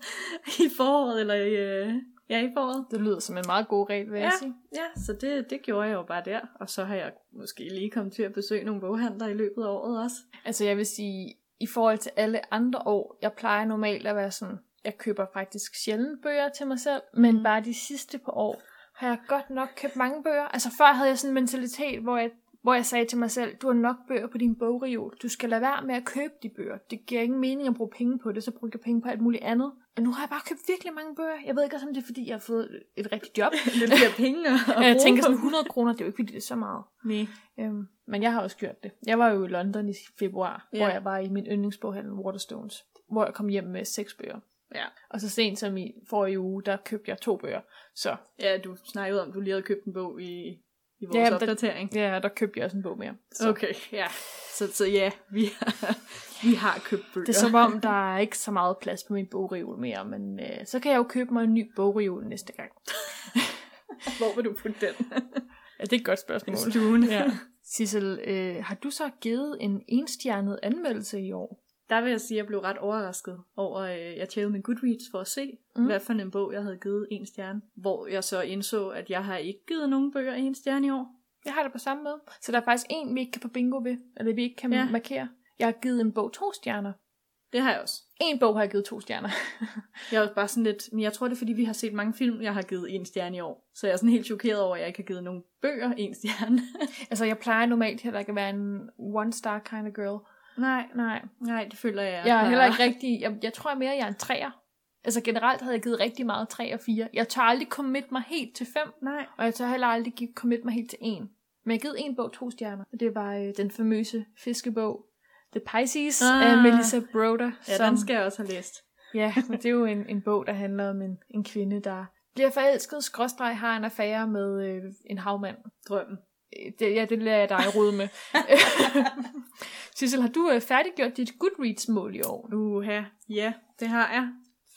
[SPEAKER 1] i foråret, eller i, øh, ja, i foråret.
[SPEAKER 2] Det lyder som en meget god regel, vil ja. jeg sige.
[SPEAKER 1] Ja, så det, det gjorde jeg jo bare der, og så har jeg måske lige kommet til at besøge nogle boghandler i løbet af året også.
[SPEAKER 2] Altså jeg vil sige, i forhold til alle andre år, jeg plejer normalt at være sådan, jeg køber faktisk sjældent bøger til mig selv, men mm.
[SPEAKER 1] Mm.
[SPEAKER 2] bare de sidste par år har jeg godt nok købt mange bøger. Altså før havde jeg sådan en mentalitet, hvor jeg, hvor jeg sagde til mig selv, du har nok bøger på din bogreol. Du skal lade være med at købe de bøger. Det giver ingen mening at bruge penge på det, så bruger jeg penge på alt muligt andet. Og nu har jeg bare købt virkelig mange bøger. Jeg ved ikke også, om det er, fordi jeg har fået et rigtigt job.
[SPEAKER 1] Lidt flere penge at, at
[SPEAKER 2] Og jeg
[SPEAKER 1] bruge
[SPEAKER 2] tænker
[SPEAKER 1] på.
[SPEAKER 2] sådan 100 kroner, det er jo ikke, fordi det er så meget.
[SPEAKER 1] Næ.
[SPEAKER 2] Øhm, men jeg har også gjort det. Jeg var jo i London i februar, ja.
[SPEAKER 1] Ja.
[SPEAKER 2] hvor jeg var i min yndlingsboghandel Waterstones, hvor jeg kom hjem med seks bøger.
[SPEAKER 1] Ja.
[SPEAKER 2] Og så sent som i forrige uge, der købte jeg to bøger. Så
[SPEAKER 1] Ja, du snakkede om, du lige havde købt en bog i, i vores
[SPEAKER 2] Ja, men
[SPEAKER 1] ja,
[SPEAKER 2] der-
[SPEAKER 1] opdatering.
[SPEAKER 2] ja, der købte jeg også en bog mere. Så.
[SPEAKER 1] Så. Okay, ja. Så, så ja, vi har, vi har købt bøger.
[SPEAKER 2] Det er som om, der er ikke så meget plads på min bogreol mere, men øh, så kan jeg jo købe mig en ny bogreol næste gang.
[SPEAKER 1] Hvor vil du putte den?
[SPEAKER 2] Ja, det er et godt spørgsmål.
[SPEAKER 1] Stuen.
[SPEAKER 2] Ja. Sissel, øh, har du så givet en enstjernet anmeldelse i år?
[SPEAKER 1] Der vil jeg sige, at jeg blev ret overrasket over, øh, jeg tjekket min Goodreads for at se,
[SPEAKER 2] Mm.
[SPEAKER 1] mm. hvad for en bog, jeg havde givet en stjerne. Hvor jeg så indså, at jeg har ikke givet nogen bøger en stjerne i år.
[SPEAKER 2] Jeg har det på samme måde. Så der er faktisk en, vi ikke kan på bingo ved, eller vi ikke kan ja.
[SPEAKER 1] Ja.
[SPEAKER 2] markere. Jeg har givet en bog to stjerner.
[SPEAKER 1] Det har jeg også.
[SPEAKER 2] En bog har jeg givet to stjerner.
[SPEAKER 1] Jeg er også bare sådan lidt, men jeg tror, det er fordi, vi har set mange film, jeg har givet en stjerne i år. Så jeg er sådan helt chokeret over, at jeg ikke har givet nogen bøger en stjerne.
[SPEAKER 2] altså, jeg plejer normalt heller ikke at være en one-star kind of girl.
[SPEAKER 1] nej,
[SPEAKER 2] Nej,
[SPEAKER 1] nej, det føler jeg.
[SPEAKER 2] jeg er
[SPEAKER 1] bare-
[SPEAKER 2] heller ikke rigtig... Jeg, jeg tror mere, jeg er en træer. Altså generelt havde jeg givet rigtig meget 3 og 4. Jeg tør aldrig commit mig helt til 5,
[SPEAKER 1] Nej.
[SPEAKER 2] og jeg tør heller aldrig give commit mig helt til 1. Men jeg har givet en bog to stjerner, og det var øh, den famøse fiskebog The Pisces ah, af
[SPEAKER 1] Ah.
[SPEAKER 2] Melissa Broder.
[SPEAKER 1] Ja, den skal jeg også have læst.
[SPEAKER 2] Ja, men det er jo en, en bog, der handler om en, en kvinde, der bliver forelsket, skråstreg har en affære med øh, en havmand.
[SPEAKER 1] Drømmen.
[SPEAKER 2] Øh, Det, ja, det lader jeg dig rode med. Sissel, har du øh, færdiggjort dit Goodreads-mål i år?
[SPEAKER 1] Uha, ja, det har jeg.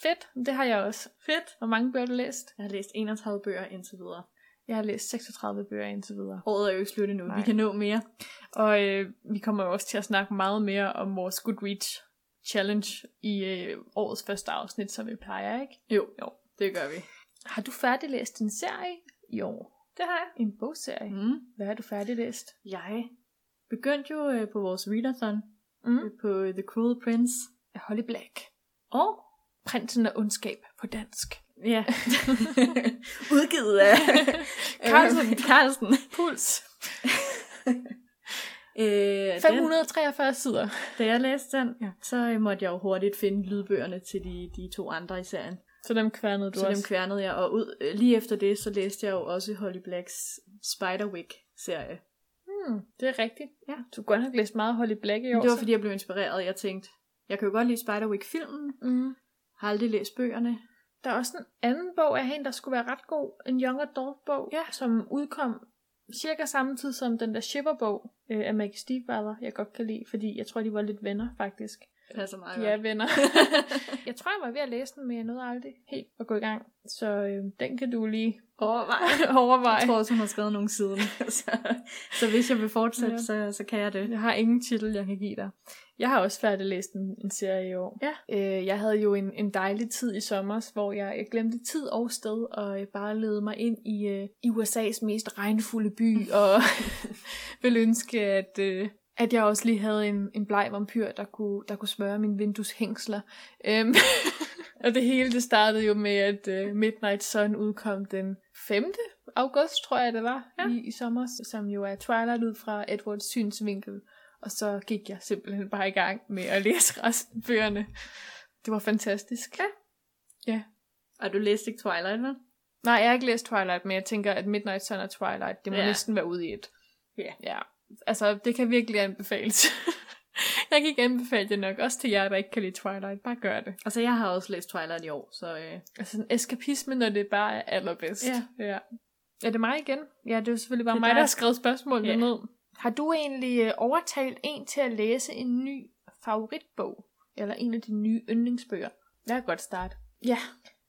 [SPEAKER 2] Fedt, det har jeg også.
[SPEAKER 1] Fedt.
[SPEAKER 2] Hvor mange bøger har du læst?
[SPEAKER 1] Jeg har læst 31 bøger indtil videre.
[SPEAKER 2] Jeg har læst 36 bøger indtil videre.
[SPEAKER 1] Året er jo ikke slut endnu.
[SPEAKER 2] Nej.
[SPEAKER 1] Vi kan nå mere.
[SPEAKER 2] Og øh, vi kommer jo også til at snakke meget mere om vores Goodreads challenge i øh, årets første afsnit, som vi plejer, ikke?
[SPEAKER 1] Jo, jo, det gør vi.
[SPEAKER 2] Har du færdiglæst en serie i år?
[SPEAKER 1] Det har jeg.
[SPEAKER 2] En bogserie?
[SPEAKER 1] Mm.
[SPEAKER 2] Hvad har du færdiglæst?
[SPEAKER 1] Jeg begyndte jo øh, på vores readathon
[SPEAKER 2] Mm.
[SPEAKER 1] øh, på øh, The Cruel Prince.
[SPEAKER 2] af Holly Black.
[SPEAKER 1] Og
[SPEAKER 2] Prinsen af ondskab på dansk.
[SPEAKER 1] ja, udgivet af
[SPEAKER 2] Carlsen.
[SPEAKER 1] Øh, Carlsen.
[SPEAKER 2] Puls.
[SPEAKER 1] Øh, den,
[SPEAKER 2] 543 sider.
[SPEAKER 1] da jeg læste den,
[SPEAKER 2] Ja.
[SPEAKER 1] ja. så øh, måtte jeg jo hurtigt finde lydbørne til de, de to andre i serien.
[SPEAKER 2] Så dem kværnede du
[SPEAKER 1] Så
[SPEAKER 2] også.
[SPEAKER 1] dem kværnede jeg, og ud, øh, lige efter det, så læste jeg jo også Holly Blacks Spiderwick-serie.
[SPEAKER 2] hmm, det er rigtigt.
[SPEAKER 1] Ja.
[SPEAKER 2] Du kunne godt have læst meget Holly Black i år.
[SPEAKER 1] Men det var,
[SPEAKER 2] så.
[SPEAKER 1] fordi jeg blev inspireret. Jeg tænkte, jeg kan jo godt lide Spiderwick-filmen,
[SPEAKER 2] Mm.
[SPEAKER 1] har aldrig læst bøgerne.
[SPEAKER 2] Der er også en anden bog af hende, der skulle være ret god. En young adult bog,
[SPEAKER 1] Ja.
[SPEAKER 2] som udkom cirka samtidig som den der Shiver-bog øh, af Maggie Stiefvater, jeg godt kan lide, fordi jeg tror, de var lidt venner, faktisk.
[SPEAKER 1] Det passer meget
[SPEAKER 2] De
[SPEAKER 1] ja.
[SPEAKER 2] er
[SPEAKER 1] godt.
[SPEAKER 2] venner. jeg tror, jeg var ved at læse den, men jeg nåede aldrig helt at gå i gang. Så øh, den kan du lige
[SPEAKER 1] Overvej.
[SPEAKER 2] overveje.
[SPEAKER 1] Jeg tror også, hun har skrevet nogle siden. så, så hvis jeg vil fortsætte,
[SPEAKER 2] Ja.
[SPEAKER 1] ja. så, så kan jeg det.
[SPEAKER 2] Jeg har ingen titel, jeg kan give dig. Jeg har også færdiglæst en, en serie i år.
[SPEAKER 1] Ja.
[SPEAKER 2] Øh, jeg havde jo en, en dejlig tid i sommer, hvor jeg, jeg glemte tid og sted, og øh, bare levede mig ind i, øh, i USA's mest regnfulde by, og ville ønske, at, øh, at jeg også lige havde en, en bleg vampyr, der kunne, der kunne smøre mine vindueshængsler. Øhm, og det hele det startede jo med, at øh, Midnight Sun udkom den 5. august, tror jeg det var, ja.
[SPEAKER 1] Ja.
[SPEAKER 2] i, i sommer, som jo er Twilight ud fra Edwards synsvinkel. Og så gik jeg simpelthen bare i gang med at læse resten af bøgerne. Det var fantastisk. Ja.
[SPEAKER 1] Og du læste ikke Twilight, vel?
[SPEAKER 2] Nej, jeg har ikke læst Twilight, men jeg tænker, at Midnight Sun og Twilight, det må ja.
[SPEAKER 1] Ja.
[SPEAKER 2] næsten være ude i et.
[SPEAKER 1] Ja.
[SPEAKER 2] ja. Altså, det kan virkelig anbefales. jeg kan ikke anbefale det nok, også til jer, der ikke kan lide Twilight. Bare gør det.
[SPEAKER 1] Altså, jeg har også læst Twilight i år, så... Øh,
[SPEAKER 2] Altså, en eskapisme, når det bare er allerbedst.
[SPEAKER 1] Ja.
[SPEAKER 2] ja. Er det mig igen? Ja, det er jo selvfølgelig bare
[SPEAKER 1] Det er
[SPEAKER 2] mig, der
[SPEAKER 1] dig.
[SPEAKER 2] har skrevet spørgsmålene
[SPEAKER 1] Ja.
[SPEAKER 2] ned. Har du egentlig øh, overtalt en til at læse en ny favoritbog? Eller en af dine nye yndlingsbøger? Jeg kan godt starte.
[SPEAKER 1] ja.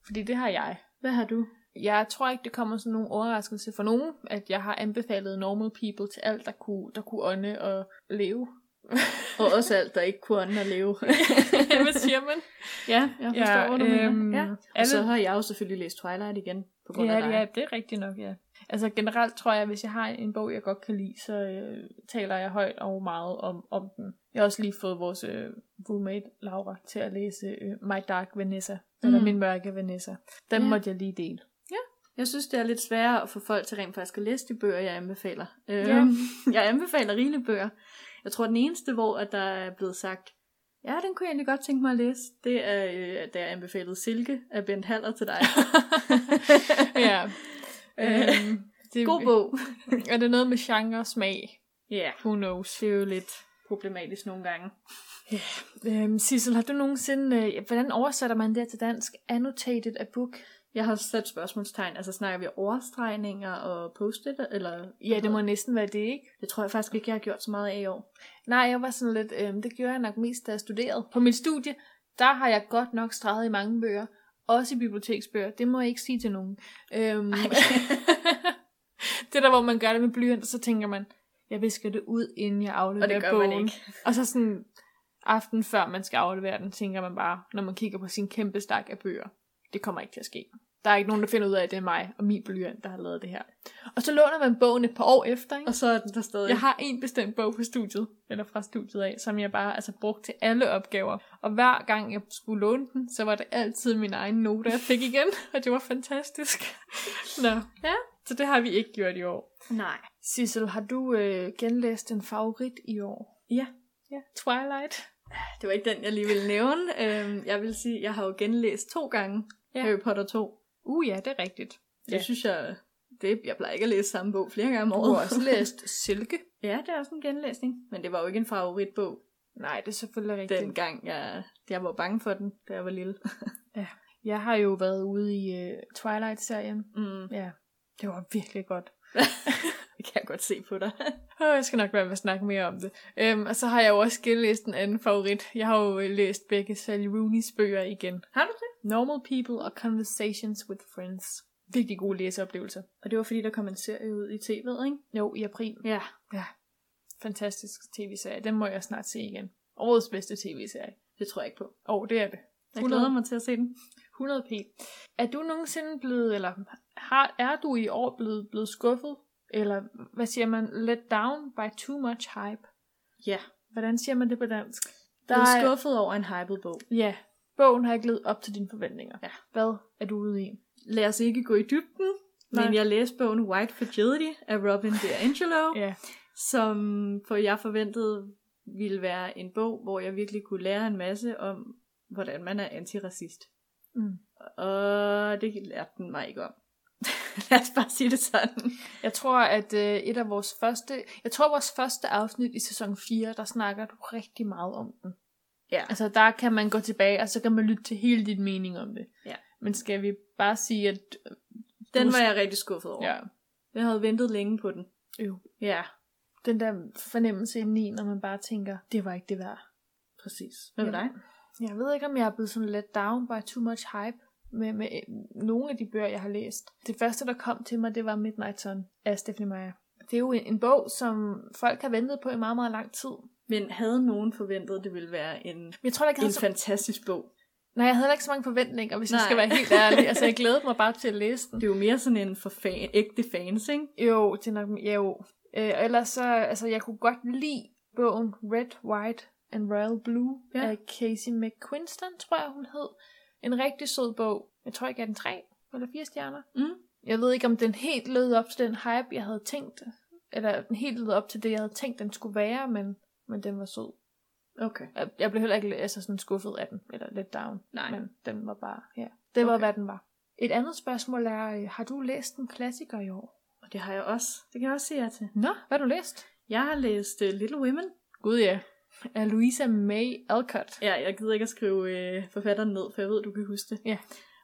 [SPEAKER 2] Fordi det har jeg.
[SPEAKER 1] Hvad har du?
[SPEAKER 2] Jeg tror ikke, det kommer som nogen overraskelse for nogen, at jeg har anbefalet normal people til alt, der kunne, der kunne ånde og leve.
[SPEAKER 1] Og også alt, der ikke kunne ånde og leve.
[SPEAKER 2] Hvad siger man?
[SPEAKER 1] ja, jeg forstår, ja, hvad du øhm, mener. Ja.
[SPEAKER 2] Ja,
[SPEAKER 1] Og så har jeg jo selvfølgelig læst Twilight igen, på grund af dig.
[SPEAKER 2] ja, ja, det er rigtigt nok, ja. Altså generelt tror jeg, at hvis jeg har en bog, jeg godt kan lide, så øh, taler jeg højt og meget om, om den. Jeg har også lige fået vores øh, roommate, Laura, til at læse øh, My Dark Vanessa, mm. eller
[SPEAKER 1] Mm.
[SPEAKER 2] Min Mørke Vanessa. Den
[SPEAKER 1] Ja.
[SPEAKER 2] yeah. måtte jeg lige dele.
[SPEAKER 1] Jeg synes, det er lidt sværere at få folk til rent faktisk at læse de bøger, jeg anbefaler.
[SPEAKER 2] Ja.
[SPEAKER 1] Ja. Jeg anbefaler rigelige bøger. Jeg tror, den eneste, hvor at der er blevet sagt, ja, den kunne jeg egentlig godt tænke mig at læse, det er, øh, da jeg anbefalede Silke af Bent Haller til dig.
[SPEAKER 2] ja.
[SPEAKER 1] Øh,
[SPEAKER 2] Øhm, det,
[SPEAKER 1] God bog.
[SPEAKER 2] Er det noget med genre og smag?
[SPEAKER 1] Ja,
[SPEAKER 2] Who knows?
[SPEAKER 1] det er jo lidt problematisk nogle gange.
[SPEAKER 2] Øhm, Sissel, har du nogensinde... Øh, hvordan oversætter man det til dansk? Annotated a book?
[SPEAKER 1] Jeg har sat spørgsmålstegn, altså snakker vi overstregninger og post-it, eller...
[SPEAKER 2] Ja, det må næsten være det, ikke?
[SPEAKER 1] Det tror jeg faktisk ikke, jeg har gjort så meget af i år.
[SPEAKER 2] Nej, jeg var sådan lidt,
[SPEAKER 1] øhm,
[SPEAKER 2] øh, det gjorde jeg nok mest, da jeg studerede. På mit studie, der har jeg godt nok streget i mange bøger. Også i biblioteksbøger. Det må jeg ikke sige til nogen. Øhm, det der, hvor man gør det med blyant, og så tænker man, jeg visker det ud, inden jeg afleverer
[SPEAKER 1] Og det gør man
[SPEAKER 2] bogen.
[SPEAKER 1] ikke.
[SPEAKER 2] Og så sådan aften før man skal aflevere den, tænker man bare, når man kigger på sin kæmpe stak af bøger, det kommer ikke til at ske. Der er ikke nogen, der finder ud af, at det er mig og min blyant, der har lavet det her. Og så låner man bogen et par år efter, ikke?
[SPEAKER 1] Og så er den der stadig.
[SPEAKER 2] Jeg har en bestemt bog på studiet, eller fra studiet af, som jeg bare altså, brugte til alle opgaver. Og hver gang jeg skulle låne den, så var det altid min egen note, jeg fik igen, og det var fantastisk. Nå, ja. så det har vi ikke gjort i år.
[SPEAKER 1] Nej.
[SPEAKER 2] Sissel, har du øh, genlæst en favorit i år?
[SPEAKER 1] Ja.
[SPEAKER 2] Ja, Twilight.
[SPEAKER 1] Det var ikke den, jeg lige ville nævne. Øhm, jeg vil sige, jeg har jo genlæst to gange
[SPEAKER 2] Ja.
[SPEAKER 1] ja. Harry Potter 2.
[SPEAKER 2] Uh ja, det er rigtigt.
[SPEAKER 1] Det
[SPEAKER 2] Ja.
[SPEAKER 1] ja. synes jeg... Det, jeg plejer ikke at læse samme bog flere gange om
[SPEAKER 2] Du har
[SPEAKER 1] året.
[SPEAKER 2] også læst Silke.
[SPEAKER 1] ja, det er også en genlæsning. Men det var jo ikke en favoritbog,
[SPEAKER 2] Nej, det er selvfølgelig rigtigt. Den.
[SPEAKER 1] dengang jeg, jeg var bange for den, da jeg var lille.
[SPEAKER 2] Jeg har jo været ude i øh, Twilight-serien.
[SPEAKER 1] Mm,
[SPEAKER 2] Ja, det var virkelig godt.
[SPEAKER 1] det kan jeg godt se på dig.
[SPEAKER 2] Åh, jeg skal nok være med at snakke mere om det. Øhm, og så har jeg jo også genlæst en anden favorit. Jeg har jo øh, læst begge Sally Rooney's bøger igen.
[SPEAKER 1] har du det?
[SPEAKER 2] Normal People og Conversations with Friends. Virkelig gode læseoplevelser.
[SPEAKER 1] Og det var fordi, der kom en serie ud i tv'et, ikke?
[SPEAKER 2] Jo, i april.
[SPEAKER 1] Ja.
[SPEAKER 2] Fantastisk tv-serie. Den må jeg snart se igen. Årets bedste tv-serie.
[SPEAKER 1] Det tror jeg ikke på.
[SPEAKER 2] Åh, oh, det er det.
[SPEAKER 1] Jeg
[SPEAKER 2] 100.
[SPEAKER 1] glæder mig til at se den.
[SPEAKER 2] 100p. Er du nogensinde blevet, eller har, er du i år blevet, blevet skuffet? Eller hvad siger man? Let down by too much hype.
[SPEAKER 1] Ja.
[SPEAKER 2] Hvordan siger man det på dansk?
[SPEAKER 1] Der
[SPEAKER 2] Der
[SPEAKER 1] er
[SPEAKER 2] er-
[SPEAKER 1] skuffet over en hyped bog.
[SPEAKER 2] Ja, bogen har ikke levet op til dine forventninger.
[SPEAKER 1] Ja.
[SPEAKER 2] Hvad er du ude i?
[SPEAKER 1] Lad os ikke gå i dybden, Nej.
[SPEAKER 2] Nej.
[SPEAKER 1] men jeg læste bogen White Fragility af Robin DiAngelo.
[SPEAKER 2] Ja.
[SPEAKER 1] som for jeg forventede ville være en bog, hvor jeg virkelig kunne lære en masse om, hvordan man er antiracist.
[SPEAKER 2] Mm.
[SPEAKER 1] Og det lærte den mig ikke om. Lad os bare sige det sådan.
[SPEAKER 2] Jeg tror, at øh, et af vores første... Jeg tror, vores første afsnit i sæson 4, der snakker du rigtig meget om den.
[SPEAKER 1] Ja.
[SPEAKER 2] Altså, der kan man gå tilbage, og så kan man lytte til hele din mening om det.
[SPEAKER 1] Ja.
[SPEAKER 2] Men skal vi bare sige, at...
[SPEAKER 1] Den var jeg rigtig skuffet over.
[SPEAKER 2] Ja.
[SPEAKER 1] Jeg havde ventet længe på den.
[SPEAKER 2] Øv.
[SPEAKER 1] Ja,
[SPEAKER 2] Den der fornemmelse indeni, når man bare tænker, det var ikke det værd.
[SPEAKER 1] præcis. Hvad med
[SPEAKER 2] Ja.
[SPEAKER 1] dig?
[SPEAKER 2] Jeg ved ikke, om jeg er blevet sådan let down by too much hype med, med øh, nogle af de bøger, jeg har læst. Det første, der kom til mig, det var Midnight Sun af Stephanie Meyer. Det er jo en, en bog, som folk har ventet på i meget, meget lang tid. Men
[SPEAKER 1] Men havde nogen forventet, at det ville være en,
[SPEAKER 2] jeg tror, da ikke, jeg
[SPEAKER 1] en
[SPEAKER 2] havde så,
[SPEAKER 1] fantastisk bog?
[SPEAKER 2] nej, jeg havde heller ikke så mange forventninger, hvis Nej. jeg
[SPEAKER 1] Nej.
[SPEAKER 2] skal være helt ærlig. Altså, jeg glædede mig bare til at læse den.
[SPEAKER 1] Det er jo mere sådan en for fan, ægte fans, ikke?
[SPEAKER 2] Jo, det er nok... Ja, jo. Øh, og ellers så... Altså, jeg kunne godt lide bogen Red, White and Royal Blue ja.
[SPEAKER 1] Ja.
[SPEAKER 2] af Casey McQuiston, tror jeg, hun hed. En rigtig sød bog. Jeg tror ikke, jeg er den tre eller fire stjerner.
[SPEAKER 1] Mm.
[SPEAKER 2] Jeg ved ikke, om den helt lød op til den hype, jeg havde tænkt. Eller den helt lød op til det, jeg havde tænkt, den skulle være, men, men den var sød.
[SPEAKER 1] Okay.
[SPEAKER 2] Jeg, jeg blev heller ikke altså sådan skuffet af den, eller let down.
[SPEAKER 1] Nej.
[SPEAKER 2] Men den var bare, ja. Det var,
[SPEAKER 1] Okay.
[SPEAKER 2] hvad den var. Et andet spørgsmål er, øh, har du læst en klassiker i år?
[SPEAKER 1] Og det har jeg også. Det kan jeg også sige jer til.
[SPEAKER 2] Nå, hvad har du læst?
[SPEAKER 1] Jeg har læst uh, Little Women.
[SPEAKER 2] Gud ja. Af Louisa May Alcott.
[SPEAKER 1] Ja, jeg gider ikke at skrive øh, forfatteren ned, for jeg ved, du kan huske det.
[SPEAKER 2] Ja.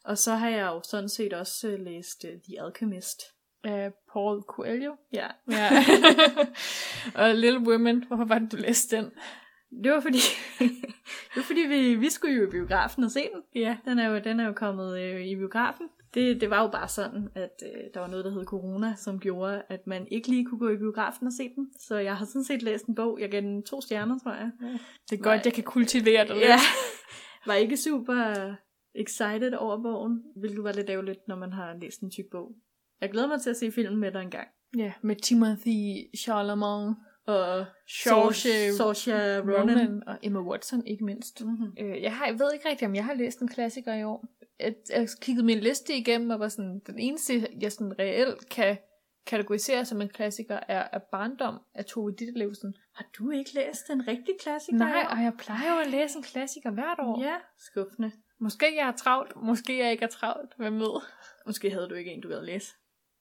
[SPEAKER 1] Og så har jeg jo sådan set også øh, læst øh, The Alchemist.
[SPEAKER 2] Af Paul Coelho.
[SPEAKER 1] Ja.
[SPEAKER 2] Ja. og Little Women. Hvorfor var det, du læste den?
[SPEAKER 1] Det var fordi, det var fordi vi, vi skulle jo i biografen og se den.
[SPEAKER 2] Ja.
[SPEAKER 1] Den er jo, den er jo kommet øh, i biografen. Det, det var jo bare sådan, at øh, der var noget, der hed corona, som gjorde, at man ikke lige kunne gå i biografen og se den. Så jeg har sådan set læst en bog. Jeg gav den to stjerner, tror jeg.
[SPEAKER 2] Det er godt,
[SPEAKER 1] Nej.
[SPEAKER 2] jeg kan kultivere dig
[SPEAKER 1] Ja. Var ikke super excited over bogen, hvilket var lidt ærgerligt, når man har læst en tyk bog. Jeg glæder mig til at se filmen med dig en gang.
[SPEAKER 2] ja. Med Timothy Chalamet og
[SPEAKER 1] Saoirse-
[SPEAKER 2] Saoirse
[SPEAKER 1] Saoirse Ronan. Ronan.
[SPEAKER 2] Ronan og Emma Watson, ikke mindst.
[SPEAKER 1] Mm-hmm.
[SPEAKER 2] Øh, jeg, har, jeg ved ikke rigtigt, om jeg har læst en klassiker i år. Jeg, jeg kiggede min liste igennem, og var sådan, den eneste, jeg sådan reelt kan kategorisere som en klassiker, er, er Barndom af Tove Ditlevsen.
[SPEAKER 1] Har du ikke læst den rigtige klassiker?
[SPEAKER 2] Nej, og jeg plejer jo at læse en klassiker hvert år.
[SPEAKER 1] Ja, skuffende.
[SPEAKER 2] Måske jeg er travlt, måske jeg ikke er travlt. Hvem ved?
[SPEAKER 1] Måske havde du ikke en, du havde læst.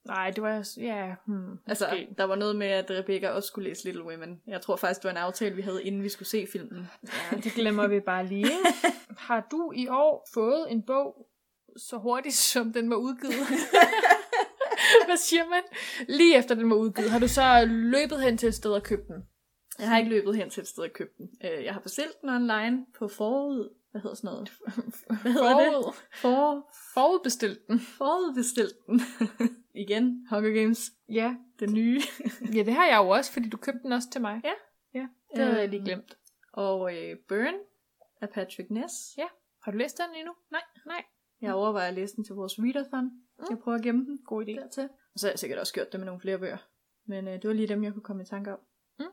[SPEAKER 2] Nej, det var jeg... s- Ja, hmm,
[SPEAKER 1] Altså,
[SPEAKER 2] måske.
[SPEAKER 1] der var noget med, at Rebecca også skulle læse Little Women. Jeg tror faktisk, det var en aftale, vi havde, inden vi skulle se filmen.
[SPEAKER 2] Ja, det glemmer vi bare lige. Har du i år fået en bog så hurtigt, som den var udgivet? Hvad siger man? Lige efter den var udgivet, har du så løbet hen til et sted og købt den?
[SPEAKER 1] Jeg har ikke løbet hen til et sted og købt den. Øh, Jeg har bestilt den online på forud. Hvad hedder sådan noget? Hvad hedder det?
[SPEAKER 2] Forud,
[SPEAKER 1] For,
[SPEAKER 2] forudbestilt den.
[SPEAKER 1] forudbestilt den. Igen, Hunger Games.
[SPEAKER 2] Ja.
[SPEAKER 1] Den nye.
[SPEAKER 2] ja, det har jeg jo også, fordi du købte den også til mig.
[SPEAKER 1] Ja.
[SPEAKER 2] ja det havde jeg
[SPEAKER 1] Øhm.
[SPEAKER 2] lige glemt.
[SPEAKER 1] Og øh, Burn af Patrick Ness.
[SPEAKER 2] Ja. Har du læst den endnu? Nej. Nej.
[SPEAKER 1] Jeg overvejer at læse den til vores readathon.
[SPEAKER 2] Mm.
[SPEAKER 1] Jeg prøver at gemme den.
[SPEAKER 2] God idé.
[SPEAKER 1] dertil. Og så har jeg sikkert også gjort det med nogle flere bøger. Men øh, det var lige dem, jeg kunne komme i tanke om.
[SPEAKER 2] Mm.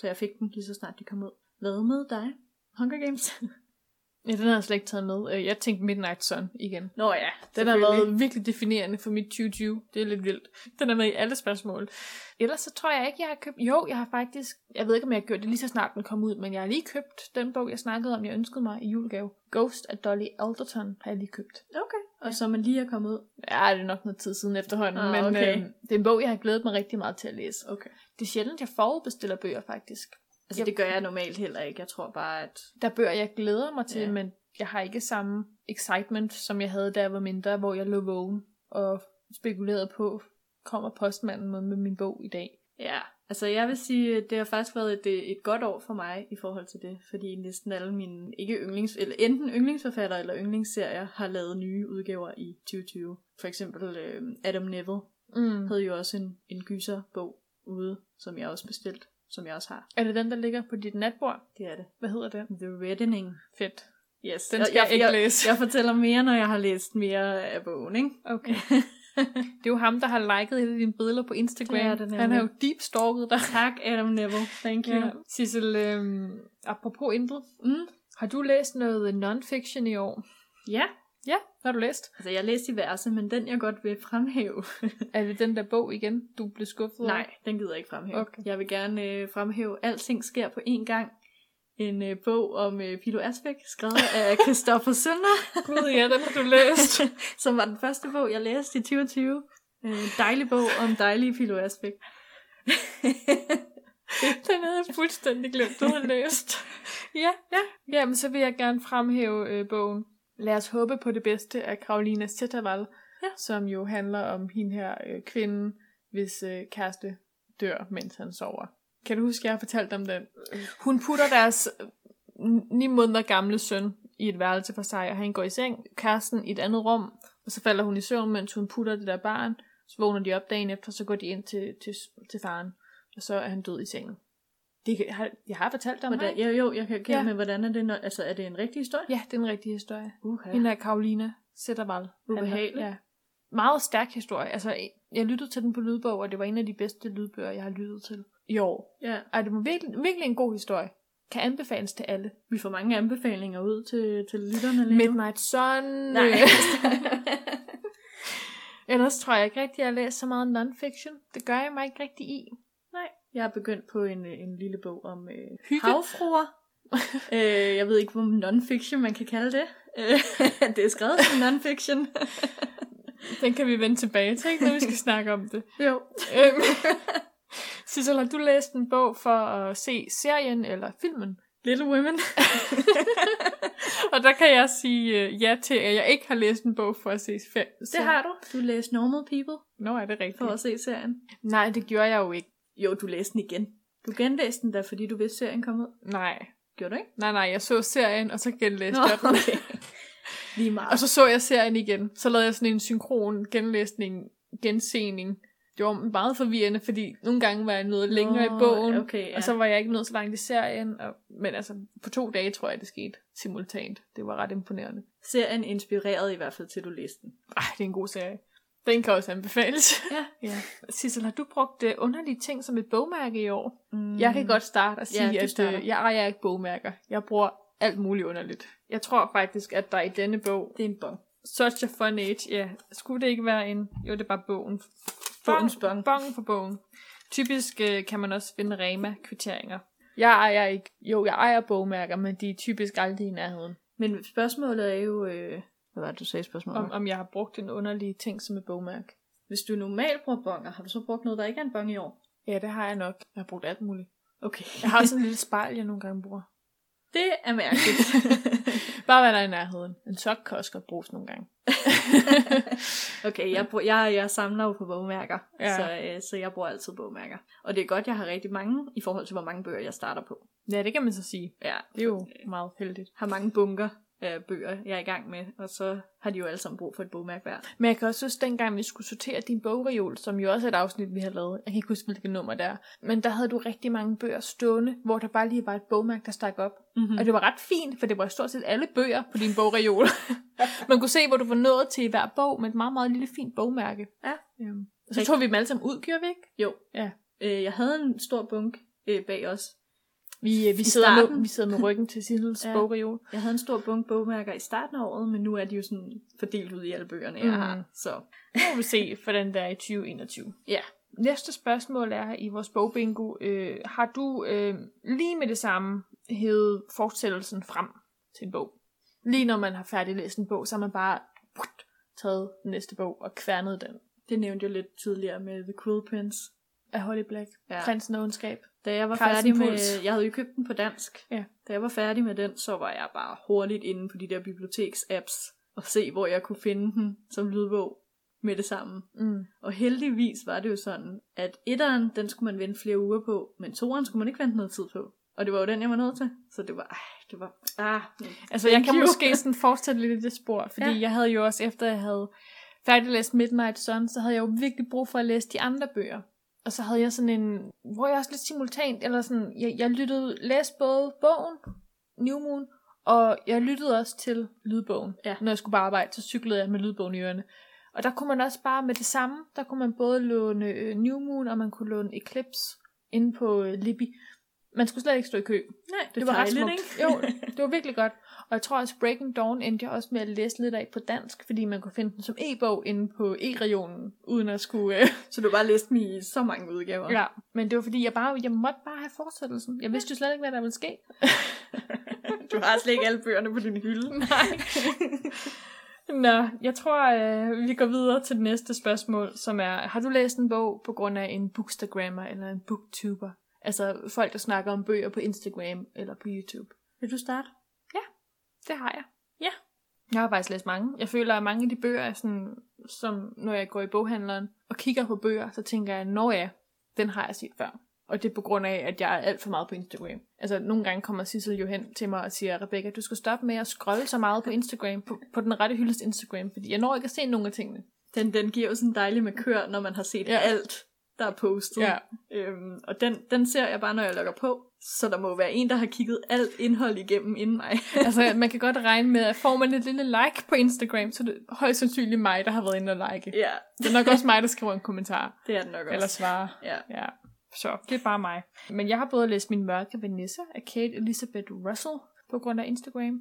[SPEAKER 1] Så jeg fik den lige så snart de kom ud. Hvad med dig? Hunger Games?
[SPEAKER 2] Ja, den havde jeg slet ikke taget med. Øh, Jeg tænkte Midnight Sun igen.
[SPEAKER 1] Nå ja,
[SPEAKER 2] Den har været virkelig definerende for mit 2020. Det er lidt vildt. Den er med i alle spørgsmål. Ellers så tror jeg ikke, jeg har købt... Jo, jeg har faktisk... Jeg ved ikke, om jeg har gjort det lige så snart den kom ud, men jeg har lige købt den bog, jeg snakkede om, jeg ønskede mig i julegave. Ghost af Dolly Alderton har jeg lige købt.
[SPEAKER 1] Okay, og så er man lige er kommet ud.
[SPEAKER 2] Ja, det er nok noget tid siden efterhånden,
[SPEAKER 1] Ah,
[SPEAKER 2] men
[SPEAKER 1] okay.
[SPEAKER 2] øh, det er en bog, jeg har glædet mig rigtig meget til at læse.
[SPEAKER 1] Okay.
[SPEAKER 2] Det er sjældent, jeg forudbestiller bøger, faktisk.
[SPEAKER 1] Altså det gør jeg normalt heller ikke. Jeg tror bare, at
[SPEAKER 2] Der er bøger, jeg glæder mig til,
[SPEAKER 1] Ja.
[SPEAKER 2] ja. men jeg har ikke samme excitement, som jeg havde, da jeg var mindre, hvor jeg lå vågen og spekulerede på, kommer postmanden med, med min bog i dag?
[SPEAKER 1] Ja, altså jeg vil sige, at det har faktisk været et, øh, et godt år for mig i forhold til det, fordi næsten alle mine, ikke yndlings, eller enten yndlingsforfattere eller yndlingsserier, har lavet nye udgaver i 2020. For eksempel øh, Adam Neville
[SPEAKER 2] Mm.
[SPEAKER 1] havde jo også en, en gyserbog ude, som jeg også bestilte, som jeg også har.
[SPEAKER 2] Er det den, der ligger på dit natbord?
[SPEAKER 1] Det er det.
[SPEAKER 2] Hvad hedder den?
[SPEAKER 1] The Reddening.
[SPEAKER 2] Fedt.
[SPEAKER 1] Yes.
[SPEAKER 2] Den skal jeg, jeg ikke
[SPEAKER 1] jeg,
[SPEAKER 2] læse.
[SPEAKER 1] jeg fortæller mere, når jeg har læst mere af bogen, ikke?
[SPEAKER 2] Okay. Det er jo ham, der har liket alle dine billeder på Instagram.
[SPEAKER 1] Det er det nemlig.
[SPEAKER 2] Han har jo deep-stalket dig.
[SPEAKER 1] tak, Adam Neville. Thank you.
[SPEAKER 2] Ja. Sissel, øhm, apropos intet.
[SPEAKER 1] Mm.
[SPEAKER 2] Har du læst noget non-fiction i år?
[SPEAKER 1] Ja,
[SPEAKER 2] Ja, har du læst?
[SPEAKER 1] altså jeg læste diverse, men den jeg godt vil fremhæve,
[SPEAKER 2] Er det den der bog igen, du blev skuffet over?
[SPEAKER 1] Nej, den gider jeg ikke fremhæve. Okay.
[SPEAKER 2] Okay.
[SPEAKER 1] Jeg vil gerne øh, fremhæve Alting sker på én gang. En øh, bog om øh, Pilo Asbæk, skrevet af Christoffer Sønder,
[SPEAKER 2] Gud, ja, den har du læst.
[SPEAKER 1] som var den første bog, jeg læste i 2020. Øh, en dejlig bog om dejlige Pilo Asbæk.
[SPEAKER 2] den havde jeg fuldstændig glemt, du havde læst. ja, ja. Jamen, så vil jeg gerne fremhæve øh, bogen Lad os håbe på det bedste af Karolina Zettervall,
[SPEAKER 1] Ja.
[SPEAKER 2] som jo handler om hende her øh, kvinden, hvis øh, kæreste dør, mens han sover. Kan du huske, jeg har fortalt om den? Hun putter deres øh, ni måneder gamle søn i et værelse for sig, og han går i seng, kæresten i et andet rum, og så falder hun i søvn, mens hun putter det der barn, så vågner de op dagen efter, så går de ind til, til, til faren, og så er han død i sengen. Det, kan- jeg, har, jeg har fortalt om
[SPEAKER 1] Hvordan,
[SPEAKER 2] det.
[SPEAKER 1] jo, jo, jeg kan kende, ja.
[SPEAKER 2] Ja.
[SPEAKER 1] men hvordan er det? Når, altså, er det en rigtig historie?
[SPEAKER 2] Ja, det er en rigtig historie.
[SPEAKER 1] Uh-huh.
[SPEAKER 2] Hende er Karolina Sættervald.
[SPEAKER 1] Ubehagelig.
[SPEAKER 2] Ja. Meget stærk historie. Altså, jeg lyttede til den på lydbog, og det var en af de bedste lydbøger, jeg har lyttet til i år.
[SPEAKER 1] ja.
[SPEAKER 2] Og det var virkelig, virkelig en god historie. Kan anbefales til alle.
[SPEAKER 1] Vi får mange anbefalinger ud til, til lytterne Øh, lige nu.
[SPEAKER 2] Midnight Sun.
[SPEAKER 1] Nej.
[SPEAKER 2] Ellers tror jeg ikke rigtig, jeg har læst så meget non-fiction. Det gør jeg mig ikke rigtig i.
[SPEAKER 1] Jeg er begyndt på en, øh, en lille bog om øh,
[SPEAKER 2] Hygge.
[SPEAKER 1] havfruer. øh, jeg ved ikke, hvor non-fiction man kan kalde det. Øh, det er skrevet som non-fiction.
[SPEAKER 2] Den kan vi vende tilbage til, ikke, når vi skal snakke om det.
[SPEAKER 1] jo.
[SPEAKER 2] Øhm, Sissel, har du læst en bog for at se serien eller filmen?
[SPEAKER 1] Little Women.
[SPEAKER 2] Og der kan jeg sige øh, ja til, at jeg ikke har læst en bog for at se film.
[SPEAKER 1] det har du. Du læste Normal People
[SPEAKER 2] Nå, er det
[SPEAKER 1] for
[SPEAKER 2] rigtigt?
[SPEAKER 1] at se serien.
[SPEAKER 2] Nej, det gjorde jeg jo ikke.
[SPEAKER 1] Jo, du læste den igen. Du genlæste den da, fordi du vidste, serien kom ud.
[SPEAKER 2] Nej.
[SPEAKER 1] Gjorde du ikke?
[SPEAKER 2] Nej, nej, jeg så serien, og så genlæste
[SPEAKER 1] Nå,
[SPEAKER 2] jeg den.
[SPEAKER 1] okay. Lige meget.
[SPEAKER 2] Og så så jeg serien igen. Så lavede jeg sådan en synkron genlæsning, gensening. Det var meget forvirrende, fordi nogle gange var jeg noget længere
[SPEAKER 1] Nå,
[SPEAKER 2] i bogen,
[SPEAKER 1] Okay, ja.
[SPEAKER 2] og så var jeg ikke nået så langt i serien. Og, men altså, på to dage tror jeg, det skete simultant. Det var ret imponerende.
[SPEAKER 1] Serien inspirerede i hvert fald til, du læste den.
[SPEAKER 2] Ej, det er en god serie. Den kan også anbefales.
[SPEAKER 1] Ja.
[SPEAKER 2] ja. Sissel, har du brugt øh, underlige ting som et bogmærke i år?
[SPEAKER 1] Mm.
[SPEAKER 2] Jeg kan godt starte og
[SPEAKER 1] Ja,
[SPEAKER 2] sige,
[SPEAKER 1] du
[SPEAKER 2] at
[SPEAKER 1] starter.
[SPEAKER 2] øh, jeg ejer ikke bogmærker. Jeg bruger alt muligt underligt. Jeg tror faktisk, at der i denne bog,
[SPEAKER 1] Det er en bong.
[SPEAKER 2] Such a Fun Age, ja, skulle det ikke være en... Jo, det er bare bogen.
[SPEAKER 1] Bogens bong.
[SPEAKER 2] Bongen for bogen. Typisk øh, kan man også finde Rema-kvitteringer. Jeg ejer ikke... Jo, jeg ejer bogmærker, men de er typisk aldrig i nærheden.
[SPEAKER 1] Men spørgsmålet er jo... Øh, hvad var det, du sagde spørgsmålet?
[SPEAKER 2] Om,
[SPEAKER 1] Om, om.
[SPEAKER 2] om jeg har brugt en underlig ting som et bogmærke.
[SPEAKER 1] Hvis du normalt bruger bonger, har du så brugt noget, der ikke er en bong i år?
[SPEAKER 2] Ja, det har jeg nok. Jeg har brugt alt muligt.
[SPEAKER 1] Okay.
[SPEAKER 2] Jeg har sådan en lille spejl, jeg nogle gange bruger.
[SPEAKER 1] det er mærkeligt.
[SPEAKER 2] Bare hvad der er i nærheden. En sok kan også godt bruges nogle gange.
[SPEAKER 1] okay, jeg, bruger, jeg, jeg samler jo på bogmærker,
[SPEAKER 2] Ja.
[SPEAKER 1] ja. så, øh, så jeg bruger altid bogmærker. Og det er godt, jeg har rigtig mange i forhold til, hvor mange bøger jeg starter på.
[SPEAKER 2] ja, det kan man så sige.
[SPEAKER 1] Ja,
[SPEAKER 2] Det er jo meget heldigt.
[SPEAKER 1] har mange bunker af bøger, jeg er i gang med, og så har de jo alle sammen brug for et bogmærke hver.
[SPEAKER 2] Men jeg kan også huske, dengang vi skulle sortere din bogreol, som jo også er et afsnit, vi har lavet. Jeg kan ikke huske, hvilket nummer det er. Men der havde du rigtig mange bøger stående, hvor der bare lige var et bogmærke, der stak op.
[SPEAKER 1] Mm-hmm.
[SPEAKER 2] Og det var ret fint, for det var stort set alle bøger på din bogreol. Man kunne se, hvor du var nået til i hver bog, med et meget, meget lille fint bogmærke.
[SPEAKER 1] Ja.
[SPEAKER 2] Øhm, og Så tog vi dem alle sammen ud, gjorde vi ikke?
[SPEAKER 1] Jo.
[SPEAKER 2] Ja.
[SPEAKER 1] Øh, jeg havde en stor bunk øh, bag os.
[SPEAKER 2] Vi, øh, vi,
[SPEAKER 1] I
[SPEAKER 2] sidder med,
[SPEAKER 1] starten.
[SPEAKER 2] vi sidder med ryggen til Sissels
[SPEAKER 1] Ja.
[SPEAKER 2] ja. bogreol.
[SPEAKER 1] Jeg havde en stor bunk bogmærker i starten af året, men nu er de jo sådan fordelt ud i alle bøgerne, jeg
[SPEAKER 2] Mhm.
[SPEAKER 1] har. Så
[SPEAKER 2] Nu må vi se, hvordan det er i 2021.
[SPEAKER 1] ja,
[SPEAKER 2] Næste spørgsmål er i vores bogbingo. Øh, har du øh, lige med det samme hævet fortsættelsen frem til en bog? Lige når man har færdiglæst en bog, så har man bare put, taget den næste bog og kværnet den
[SPEAKER 1] det nævnte jeg lidt tidligere med The Quill Prince.
[SPEAKER 2] af Holly Black. Ja.
[SPEAKER 1] Ja.
[SPEAKER 2] Prinsen af ondskab.
[SPEAKER 1] Da jeg var
[SPEAKER 2] Carlsen
[SPEAKER 1] færdig
[SPEAKER 2] Puls.
[SPEAKER 1] med... Jeg havde jo købt den på dansk.
[SPEAKER 2] Ja.
[SPEAKER 1] Da jeg var færdig med den, så var jeg bare hurtigt inde på de der biblioteks-apps og se, hvor jeg kunne finde den som lydbog med det samme.
[SPEAKER 2] Mm.
[SPEAKER 1] Og heldigvis var det jo sådan, at etteren, den skulle man vente flere uger på, men toeren skulle man ikke vente noget tid på. Og det var jo den, jeg var nødt til. Så det var, ej, det var, ah,
[SPEAKER 2] Altså, jeg kan
[SPEAKER 1] you.
[SPEAKER 2] måske sådan fortsætte lidt i det spor, fordi ja.
[SPEAKER 1] Ja.
[SPEAKER 2] jeg havde jo også, efter jeg havde færdiglæst Midnight Sun, så havde jeg jo virkelig brug for at læse de andre bøger. Og så havde jeg sådan en, hvor jeg også lidt simultant, eller sådan, jeg, jeg lyttede, læste både bogen, New Moon, og jeg lyttede også til lydbogen.
[SPEAKER 1] Ja.
[SPEAKER 2] Når jeg skulle bare arbejde, så cyklede jeg med lydbogen i ørerne. Og der kunne man også bare med det samme, der kunne man både låne øh, New Moon, og man kunne låne Eclipse inde på øh, Libby. Man skulle slet ikke stå i kø.
[SPEAKER 1] nej, det,
[SPEAKER 2] Det,
[SPEAKER 1] det
[SPEAKER 2] var ret
[SPEAKER 1] dejligt,
[SPEAKER 2] smukt. Ikke? Jo, det var virkelig godt. Og jeg tror også, Breaking Dawn endte jeg også med at læse lidt af på dansk, fordi man kunne finde den som e-bog inde på e-regionen, uden at skulle... Øh,
[SPEAKER 1] Så du har bare læst dem i så mange udgaver.
[SPEAKER 2] ja. Men det var fordi, jeg, bare, jeg måtte bare have fortsættelsen. Jeg vidste jo slet ikke, hvad der ville ske.
[SPEAKER 1] Du har slet ikke alle bøgerne på din hylde.
[SPEAKER 2] Nej. Nå, jeg tror, øh, vi går videre til det næste spørgsmål, som er, har du læst en bog på grund af en bookstagrammer eller en booktuber? Altså folk, der snakker om bøger på Instagram eller på YouTube.
[SPEAKER 1] Vil du starte?
[SPEAKER 2] Det har jeg.
[SPEAKER 1] Ja.
[SPEAKER 2] Jeg har faktisk læst mange. Jeg føler, at mange af de bøger er sådan, som når jeg går i boghandleren og kigger på bøger, så tænker jeg, når ja, den har jeg set før. Og det er på grund af, at jeg er alt for meget på Instagram. Altså, nogle gange kommer Sissel jo hen til mig og siger, Rebecca, du skal stoppe med at scrolle så meget på Instagram, på, på den rette hyldes Instagram, fordi jeg når ikke at se nogen af tingene.
[SPEAKER 1] Den, den giver jo sådan dejlig med kør, når man har set
[SPEAKER 2] Ja.
[SPEAKER 1] ja. alt, der er postet. Øhm, og den, den ser jeg bare, når jeg logger på. Så der må være en, der har kigget alt indhold igennem inden mig.
[SPEAKER 2] altså, man kan godt regne med, at får man et lille like på Instagram, så er det højst sandsynligt mig, der har været inde og like.
[SPEAKER 1] ja,
[SPEAKER 2] Det er nok også mig, der skriver en kommentar,
[SPEAKER 1] det er den nok også.
[SPEAKER 2] eller svarer.
[SPEAKER 1] Ja.
[SPEAKER 2] Ja, så det er bare mig. Men jeg har både læst Min Mørke Vanessa af Kate Elizabeth Russell på grund af Instagram.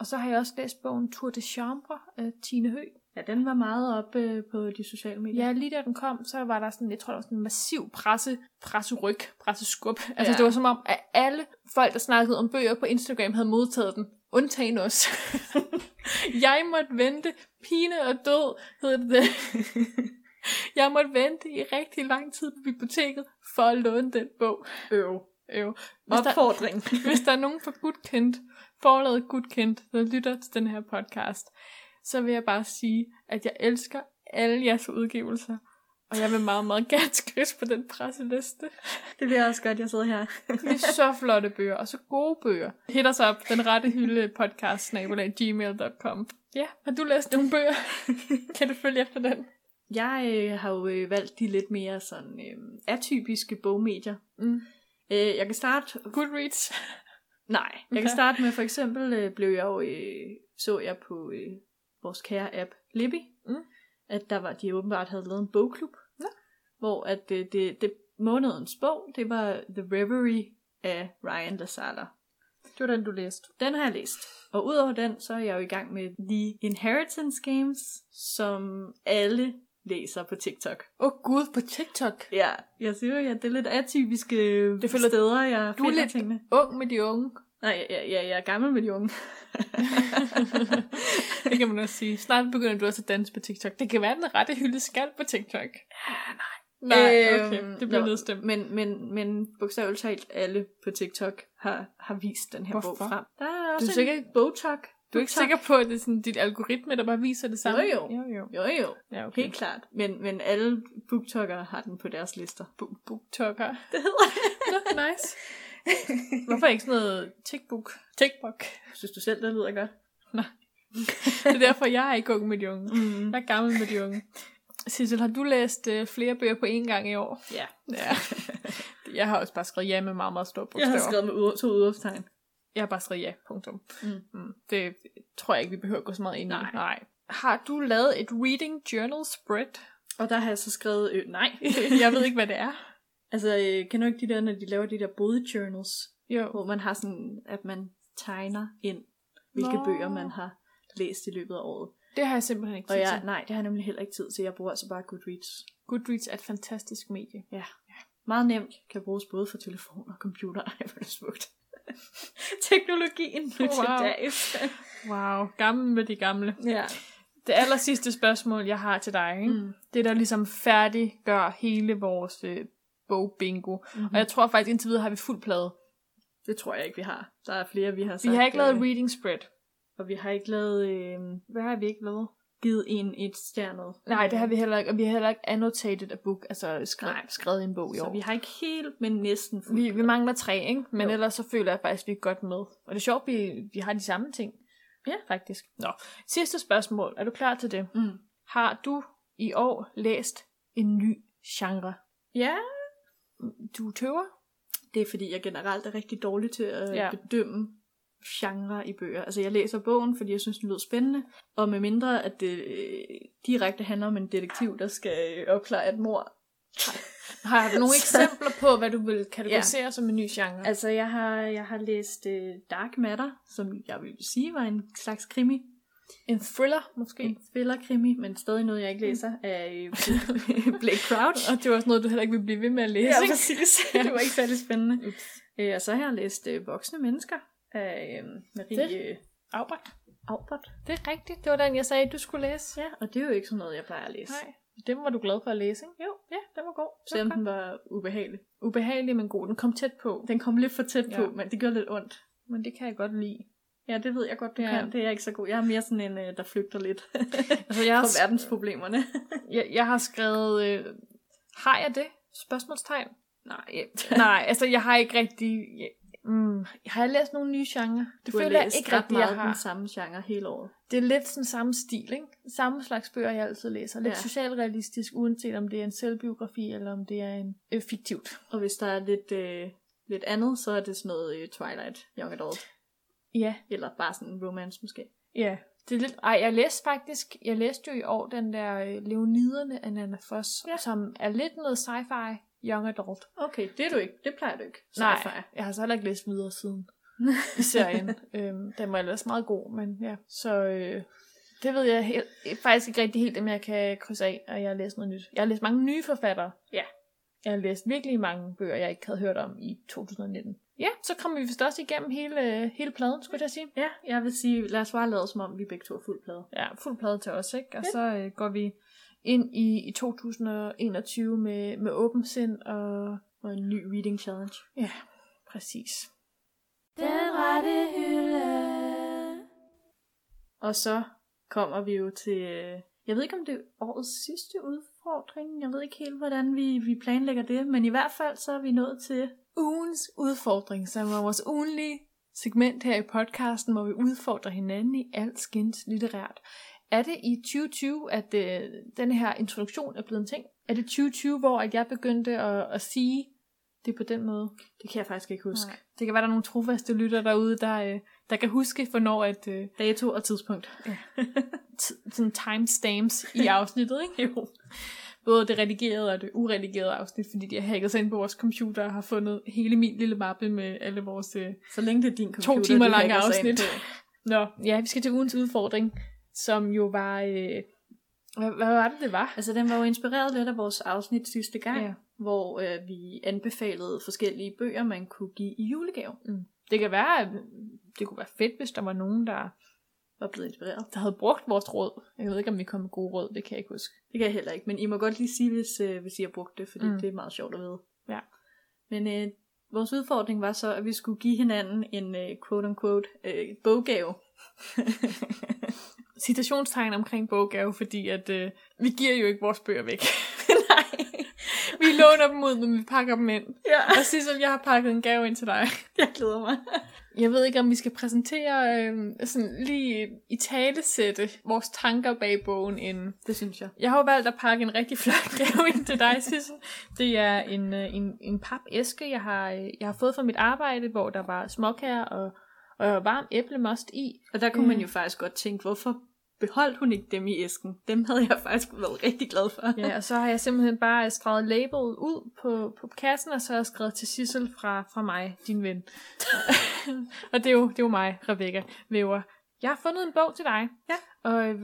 [SPEAKER 2] Og så har jeg også læst bogen Tour de Chambre af Tine Hø.
[SPEAKER 1] ja, den var meget oppe øh, på de sociale medier.
[SPEAKER 2] Ja, lige da den kom, så var der sådan, jeg tror, der var sådan en massiv presse, presseryg, presseskub. Altså, ja.
[SPEAKER 1] Ja.
[SPEAKER 2] det var som om, at alle folk, der snakkede om bøger på Instagram, havde modtaget den. Undtagen os. jeg måtte vente. Pine og død hed det. jeg måtte vente i rigtig lang tid på biblioteket for at låne den bog.
[SPEAKER 1] Øv.
[SPEAKER 2] Øv. Hvis der,
[SPEAKER 1] Opfordring.
[SPEAKER 2] hvis der er nogen fra Gudkendt, forladet Gudkendt, der lytter til den her podcast, så vil jeg bare sige, at jeg elsker alle jeres udgivelser. Og jeg vil meget, meget gerne skrives på den presseliste.
[SPEAKER 1] Det bliver også godt, jeg sidder her.
[SPEAKER 2] Det er så flotte bøger, og så gode bøger. Hit os op, den rette hylde podcast, snabelag, gmail.com. Ja, har du læst nogle bøger? kan du følge efter den?
[SPEAKER 1] Jeg øh, har jo øh, valgt de lidt mere sådan øh, atypiske bogmedier.
[SPEAKER 2] Mm.
[SPEAKER 1] Øh, jeg kan starte...
[SPEAKER 2] Goodreads.
[SPEAKER 1] Nej, jeg
[SPEAKER 2] Okay.
[SPEAKER 1] kan starte med for eksempel, øh, blev jeg jo, øh, så jeg på øh, vores kære app Libby,
[SPEAKER 2] Mm.
[SPEAKER 1] at der var, de åbenbart havde lavet en bogklub,
[SPEAKER 2] Nå.
[SPEAKER 1] hvor at øh, det, det, månedens bog, det var The Reverie af Ryan LaSala.
[SPEAKER 2] Det var den, du læste.
[SPEAKER 1] Den har jeg læst. Og udover den, så er jeg jo i gang med The Inheritance Games, som alle læser på TikTok.
[SPEAKER 2] Åh oh, gud, på TikTok.
[SPEAKER 1] Ja, jeg siger jo, at det er lidt atypiske det
[SPEAKER 2] Det føler-
[SPEAKER 1] steder, jeg
[SPEAKER 2] Du er
[SPEAKER 1] finder
[SPEAKER 2] lidt-
[SPEAKER 1] tingene.
[SPEAKER 2] Ung med de unge.
[SPEAKER 1] Nej, jeg, jeg, jeg er gammel med de unge.
[SPEAKER 2] det kan man også sige. Snart begynder du også at danse på TikTok. Det kan være, at den rette hylde skal på TikTok. nej. Nej, okay.
[SPEAKER 1] Øhm,
[SPEAKER 2] det bliver
[SPEAKER 1] nå,
[SPEAKER 2] nedstemt.
[SPEAKER 1] Men, men, men bogstaveligt talt alle på TikTok har, har vist den her Hvorfor?
[SPEAKER 2] Hvorfor?
[SPEAKER 1] bog frem. Der er også en
[SPEAKER 2] sikker-
[SPEAKER 1] bogtok.
[SPEAKER 2] Du er ikke
[SPEAKER 1] Bogtok.
[SPEAKER 2] sikker på, at det er sådan dit algoritme, der bare viser det samme?
[SPEAKER 1] Jo,
[SPEAKER 2] jo. jo.
[SPEAKER 1] Jo, jo.
[SPEAKER 2] Ja, okay.
[SPEAKER 1] Helt klart. Men, men alle booktokkere har den på deres lister.
[SPEAKER 2] Bu- booktoker. Det hedder det. Nå, nice. Hvorfor ikke sådan noget TikBook? TikBook.
[SPEAKER 1] Synes du selv, det lyder godt?
[SPEAKER 2] Det er derfor, jeg er ikke ung med de unge.
[SPEAKER 1] Mm.
[SPEAKER 2] Jeg er gammel med de unge. Sissel, har du læst øh, flere bøger på én gang i år?
[SPEAKER 1] Ja.
[SPEAKER 2] Ja. Jeg har også bare skrevet ja med meget, meget store
[SPEAKER 1] Jeg
[SPEAKER 2] bogstaver.
[SPEAKER 1] har skrevet med ude, to udopstegn.
[SPEAKER 2] jeg har bare skrevet ja, punktum.
[SPEAKER 1] Mm.
[SPEAKER 2] Mm. Det tror jeg ikke, vi behøver at gå så meget ind
[SPEAKER 1] Nej.
[SPEAKER 2] i. Nej. Har du lavet et reading journal spread?
[SPEAKER 1] Og der har jeg så skrevet, øh, nej.
[SPEAKER 2] jeg ved ikke, hvad det er.
[SPEAKER 1] altså, øh, kan du ikke de der, når de laver de der bodejournals,
[SPEAKER 2] Jo.
[SPEAKER 1] hvor man har sådan, at man tegner ind, hvilke
[SPEAKER 2] Nå.
[SPEAKER 1] Nå. bøger man har læst i løbet af året.
[SPEAKER 2] Det har jeg simpelthen ikke tid
[SPEAKER 1] Og
[SPEAKER 2] til.
[SPEAKER 1] jeg, nej, det har jeg nemlig heller ikke tid til. Jeg bruger altså bare Goodreads.
[SPEAKER 2] Goodreads er et fantastisk medie.
[SPEAKER 1] Ja. Meget nemt. Kan bruges både for telefon og computer. Ej, hvor er det smukt. Teknologien nu wow. til
[SPEAKER 2] Wow.
[SPEAKER 1] dags.
[SPEAKER 2] Wow, gammel med de gamle.
[SPEAKER 1] ja.
[SPEAKER 2] Det aller sidste spørgsmål, jeg har til dig, ikke? Mm.
[SPEAKER 1] Mm.
[SPEAKER 2] det der ligesom færdiggør hele vores øh, bogbingo. Mm-hmm. Og jeg tror faktisk, indtil videre har vi fuld plade.
[SPEAKER 1] Det tror jeg ikke, vi har. Der er flere, vi har
[SPEAKER 2] Vi
[SPEAKER 1] sagt.
[SPEAKER 2] har ikke lavet
[SPEAKER 1] øh,
[SPEAKER 2] reading spread.
[SPEAKER 1] Og vi har ikke lavet... Øh,
[SPEAKER 2] Hvad har vi ikke lavet?
[SPEAKER 1] givet en et stjernet.
[SPEAKER 2] Nej, det har vi heller ikke. Og vi har heller ikke annotated a book, altså skrevet,
[SPEAKER 1] Nej.
[SPEAKER 2] skrevet en bog i år.
[SPEAKER 1] Så vi har ikke helt, men næsten fuldt.
[SPEAKER 2] Vi, vi mangler tre, ikke? Men jo.
[SPEAKER 1] Jo.
[SPEAKER 2] ellers så føler jeg faktisk, at vi er godt med. Og det er sjovt, vi, vi har de samme ting.
[SPEAKER 1] Ja.
[SPEAKER 2] Faktisk. Nå. Sidste spørgsmål. Er du klar til det?
[SPEAKER 1] Mm.
[SPEAKER 2] Har du i år læst en ny genre?
[SPEAKER 1] Ja,
[SPEAKER 2] Du tøver?
[SPEAKER 1] det er fordi, jeg generelt er rigtig dårlig til at
[SPEAKER 2] Ja.
[SPEAKER 1] ja. bedømme genre i bøger. Altså, jeg læser bogen, fordi jeg synes, den lyder spændende. Og med mindre, at det øh, direkte handler om en detektiv, der skal øh, opklare et mord,
[SPEAKER 2] Har du nogle
[SPEAKER 1] Så-
[SPEAKER 2] eksempler på, hvad du vil kategorisere ja. som en ny genre? Altså,
[SPEAKER 1] Altså, jeg har, jeg har læst øh, Dark Matter, som jeg vil sige var en slags krimi.
[SPEAKER 2] en thriller, måske?
[SPEAKER 1] En thriller-krimi, men stadig noget, jeg ikke læser, af øh, Blake Crouch.
[SPEAKER 2] Og det var også noget, du heller ikke ville blive ved med at læse,
[SPEAKER 1] Ja,
[SPEAKER 2] ikke?
[SPEAKER 1] præcis.
[SPEAKER 2] Ja.
[SPEAKER 1] det var ikke særlig spændende.
[SPEAKER 2] Ups.
[SPEAKER 1] Øh, og så har jeg læst øh, Voksne Mennesker af øh, Marie øh,
[SPEAKER 2] Afbræk.
[SPEAKER 1] Aubert.
[SPEAKER 2] Det er rigtigt. Det var den, jeg sagde, du skulle læse.
[SPEAKER 1] Ja, og det er jo ikke sådan noget, jeg plejer at læse.
[SPEAKER 2] Nej. Den var du glad for at læse, ikke?
[SPEAKER 1] Jo,
[SPEAKER 2] Ja, den var god. Det var
[SPEAKER 1] selvom
[SPEAKER 2] godt.
[SPEAKER 1] den var ubehagelig.
[SPEAKER 2] Ubehagelig, men god. Den kom tæt på.
[SPEAKER 1] Den kom lidt for tæt
[SPEAKER 2] Ja.
[SPEAKER 1] ja. på, men det gjorde lidt ondt.
[SPEAKER 2] Men det kan jeg godt lide.
[SPEAKER 1] Ja, det ved jeg godt, du
[SPEAKER 2] Ja.
[SPEAKER 1] ja. kan. Det er jeg ikke så god. Jeg er mere sådan en, øh, der flygter lidt
[SPEAKER 2] Altså, jeg, har,
[SPEAKER 1] fra verdensproblemerne.
[SPEAKER 2] jeg, jeg har skrevet... Øh, har jeg det? Spørgsmålstegn?
[SPEAKER 1] Nej, ja.
[SPEAKER 2] Nej, altså jeg har ikke rigtig... Jeg, mm, har jeg læst nogle nye genre? Det
[SPEAKER 1] Du har
[SPEAKER 2] føler jeg
[SPEAKER 1] læst
[SPEAKER 2] ikke
[SPEAKER 1] ret
[SPEAKER 2] rigtig,
[SPEAKER 1] meget
[SPEAKER 2] jeg
[SPEAKER 1] den
[SPEAKER 2] har.
[SPEAKER 1] samme genre hele året.
[SPEAKER 2] Det er lidt sådan samme stil, ikke? Samme slags bøger, jeg altid læser. Lidt ja.
[SPEAKER 1] Ja.
[SPEAKER 2] socialrealistisk, uanset om det er en selvbiografi, eller om det er en øh, fiktivt.
[SPEAKER 1] Og hvis der er lidt, øh, lidt andet, så er det sådan noget øh, Twilight, Young Adult.
[SPEAKER 2] Ja,
[SPEAKER 1] Eller bare sådan en romance måske.
[SPEAKER 2] ja. Det er lidt... Ej, jeg læste faktisk... Jeg læste jo i år den der øh, Leoniderne af Nana Foss, ja.
[SPEAKER 1] Ja.
[SPEAKER 2] som er lidt noget sci-fi young adult.
[SPEAKER 1] Okay, det er du ikke. Det plejer du ikke.
[SPEAKER 2] Nej, jeg har så heller ikke læst videre siden i serien. øhm, den var ellers meget god, men ja. Så øh, det ved jeg helt, eh, faktisk ikke rigtig helt, om jeg kan krydse af, og jeg har læst noget nyt. Jeg har læst mange nye forfattere.
[SPEAKER 1] Ja.
[SPEAKER 2] Jeg har læst virkelig mange bøger, jeg ikke havde hørt om i 2019. Ja, så kommer vi vist også igennem hele, øh, hele pladen, skulle jeg sige.
[SPEAKER 1] Ja, jeg vil sige, lad os bare lade som om, vi begge to er fuld plade.
[SPEAKER 2] Ja, fuld plade til os, ikke? Og så øh, går vi ind i, i 2021 med, med åben sind og...
[SPEAKER 1] Og en ny reading challenge.
[SPEAKER 2] Ja, præcis.
[SPEAKER 3] Den rette hylde.
[SPEAKER 1] Og så kommer vi jo til, øh, jeg ved ikke om det er årets sidste udfordring. udfordring. Jeg ved ikke helt, hvordan vi, vi planlægger det, men i hvert fald så er vi nået til...
[SPEAKER 2] Ugens udfordring, som var vores ugenlige segment her i podcasten, hvor vi udfordrer hinanden i alt skins litterært. Er det i 2020, at øh, den her introduktion er blevet en ting? Er det 2020, hvor at jeg begyndte at, at sige det på den måde?
[SPEAKER 1] Det kan jeg faktisk ikke huske. Nej.
[SPEAKER 2] Det kan være, der er nogle trofaste lytter derude, der, øh, der kan huske, hvornår at, øh,
[SPEAKER 1] Dato og tidspunkt.
[SPEAKER 2] t- sådan timestamps i afsnittet, ikke? jo. Både det redigerede og det uredigerede afsnit, fordi de har hacket sig ind på vores computer og har fundet hele min lille mappe med alle vores øh,
[SPEAKER 1] Så længe det er din computer,
[SPEAKER 2] to timer
[SPEAKER 1] de
[SPEAKER 2] lange
[SPEAKER 1] hacker sig ind
[SPEAKER 2] afsnit.
[SPEAKER 1] på.
[SPEAKER 2] Nå, ja, vi skal til ugens udfordring, som jo var... Øh, hvad, hvad var det, det var?
[SPEAKER 1] Altså, den var jo inspireret lidt af vores afsnit sidste gang,
[SPEAKER 2] Ja.
[SPEAKER 1] ja. hvor øh, vi anbefalede forskellige bøger, man kunne give i julegave.
[SPEAKER 2] Mm. Det kan være, at mm, det kunne være fedt, hvis der var nogen, der,
[SPEAKER 1] Var blevet inspireret.
[SPEAKER 2] der havde brugt vores råd. Jeg ved ikke, om vi kom med gode råd, det kan jeg ikke huske.
[SPEAKER 1] Det kan jeg heller ikke, men I må godt lige sige, hvis, øh, hvis I har brugt det, fordi
[SPEAKER 2] Mm.
[SPEAKER 1] mm. det er meget sjovt at vide.
[SPEAKER 2] Ja.
[SPEAKER 1] Men øh, vores udfordring var så, at vi skulle give hinanden en øh, quote-unquote øh, boggave.
[SPEAKER 2] Citationstegn omkring boggave, fordi at øh, vi giver jo ikke vores bøger væk. Nej. Vi låner dem ud, men vi pakker dem ind.
[SPEAKER 1] Ja,
[SPEAKER 2] Og som jeg har pakket en gave ind til dig.
[SPEAKER 1] jeg glæder mig.
[SPEAKER 2] Jeg ved ikke, om vi skal præsentere, øh, sådan lige i talesætte vores tanker bag bogen inden.
[SPEAKER 1] Det synes jeg.
[SPEAKER 2] Jeg har jo valgt at pakke en rigtig flot gave ind til dig, Sissel. Det er en, øh, en, en papæske, jeg har, øh, jeg har fået fra mit arbejde, hvor der var småkager og, og varm æblemost i. Øh.
[SPEAKER 1] Og der kunne man jo faktisk godt tænke, hvorfor beholdt hun ikke dem i æsken? Dem havde jeg faktisk været rigtig glad for.
[SPEAKER 2] Ja, og så har jeg simpelthen bare øh, streget labelet ud på, på kassen, og så har jeg skrevet til Sissel fra, fra mig, din ven. og det er, jo, det er jo mig, Rebecca Væver. Jeg har fundet en bog til dig.
[SPEAKER 1] Ja.
[SPEAKER 2] Og øh,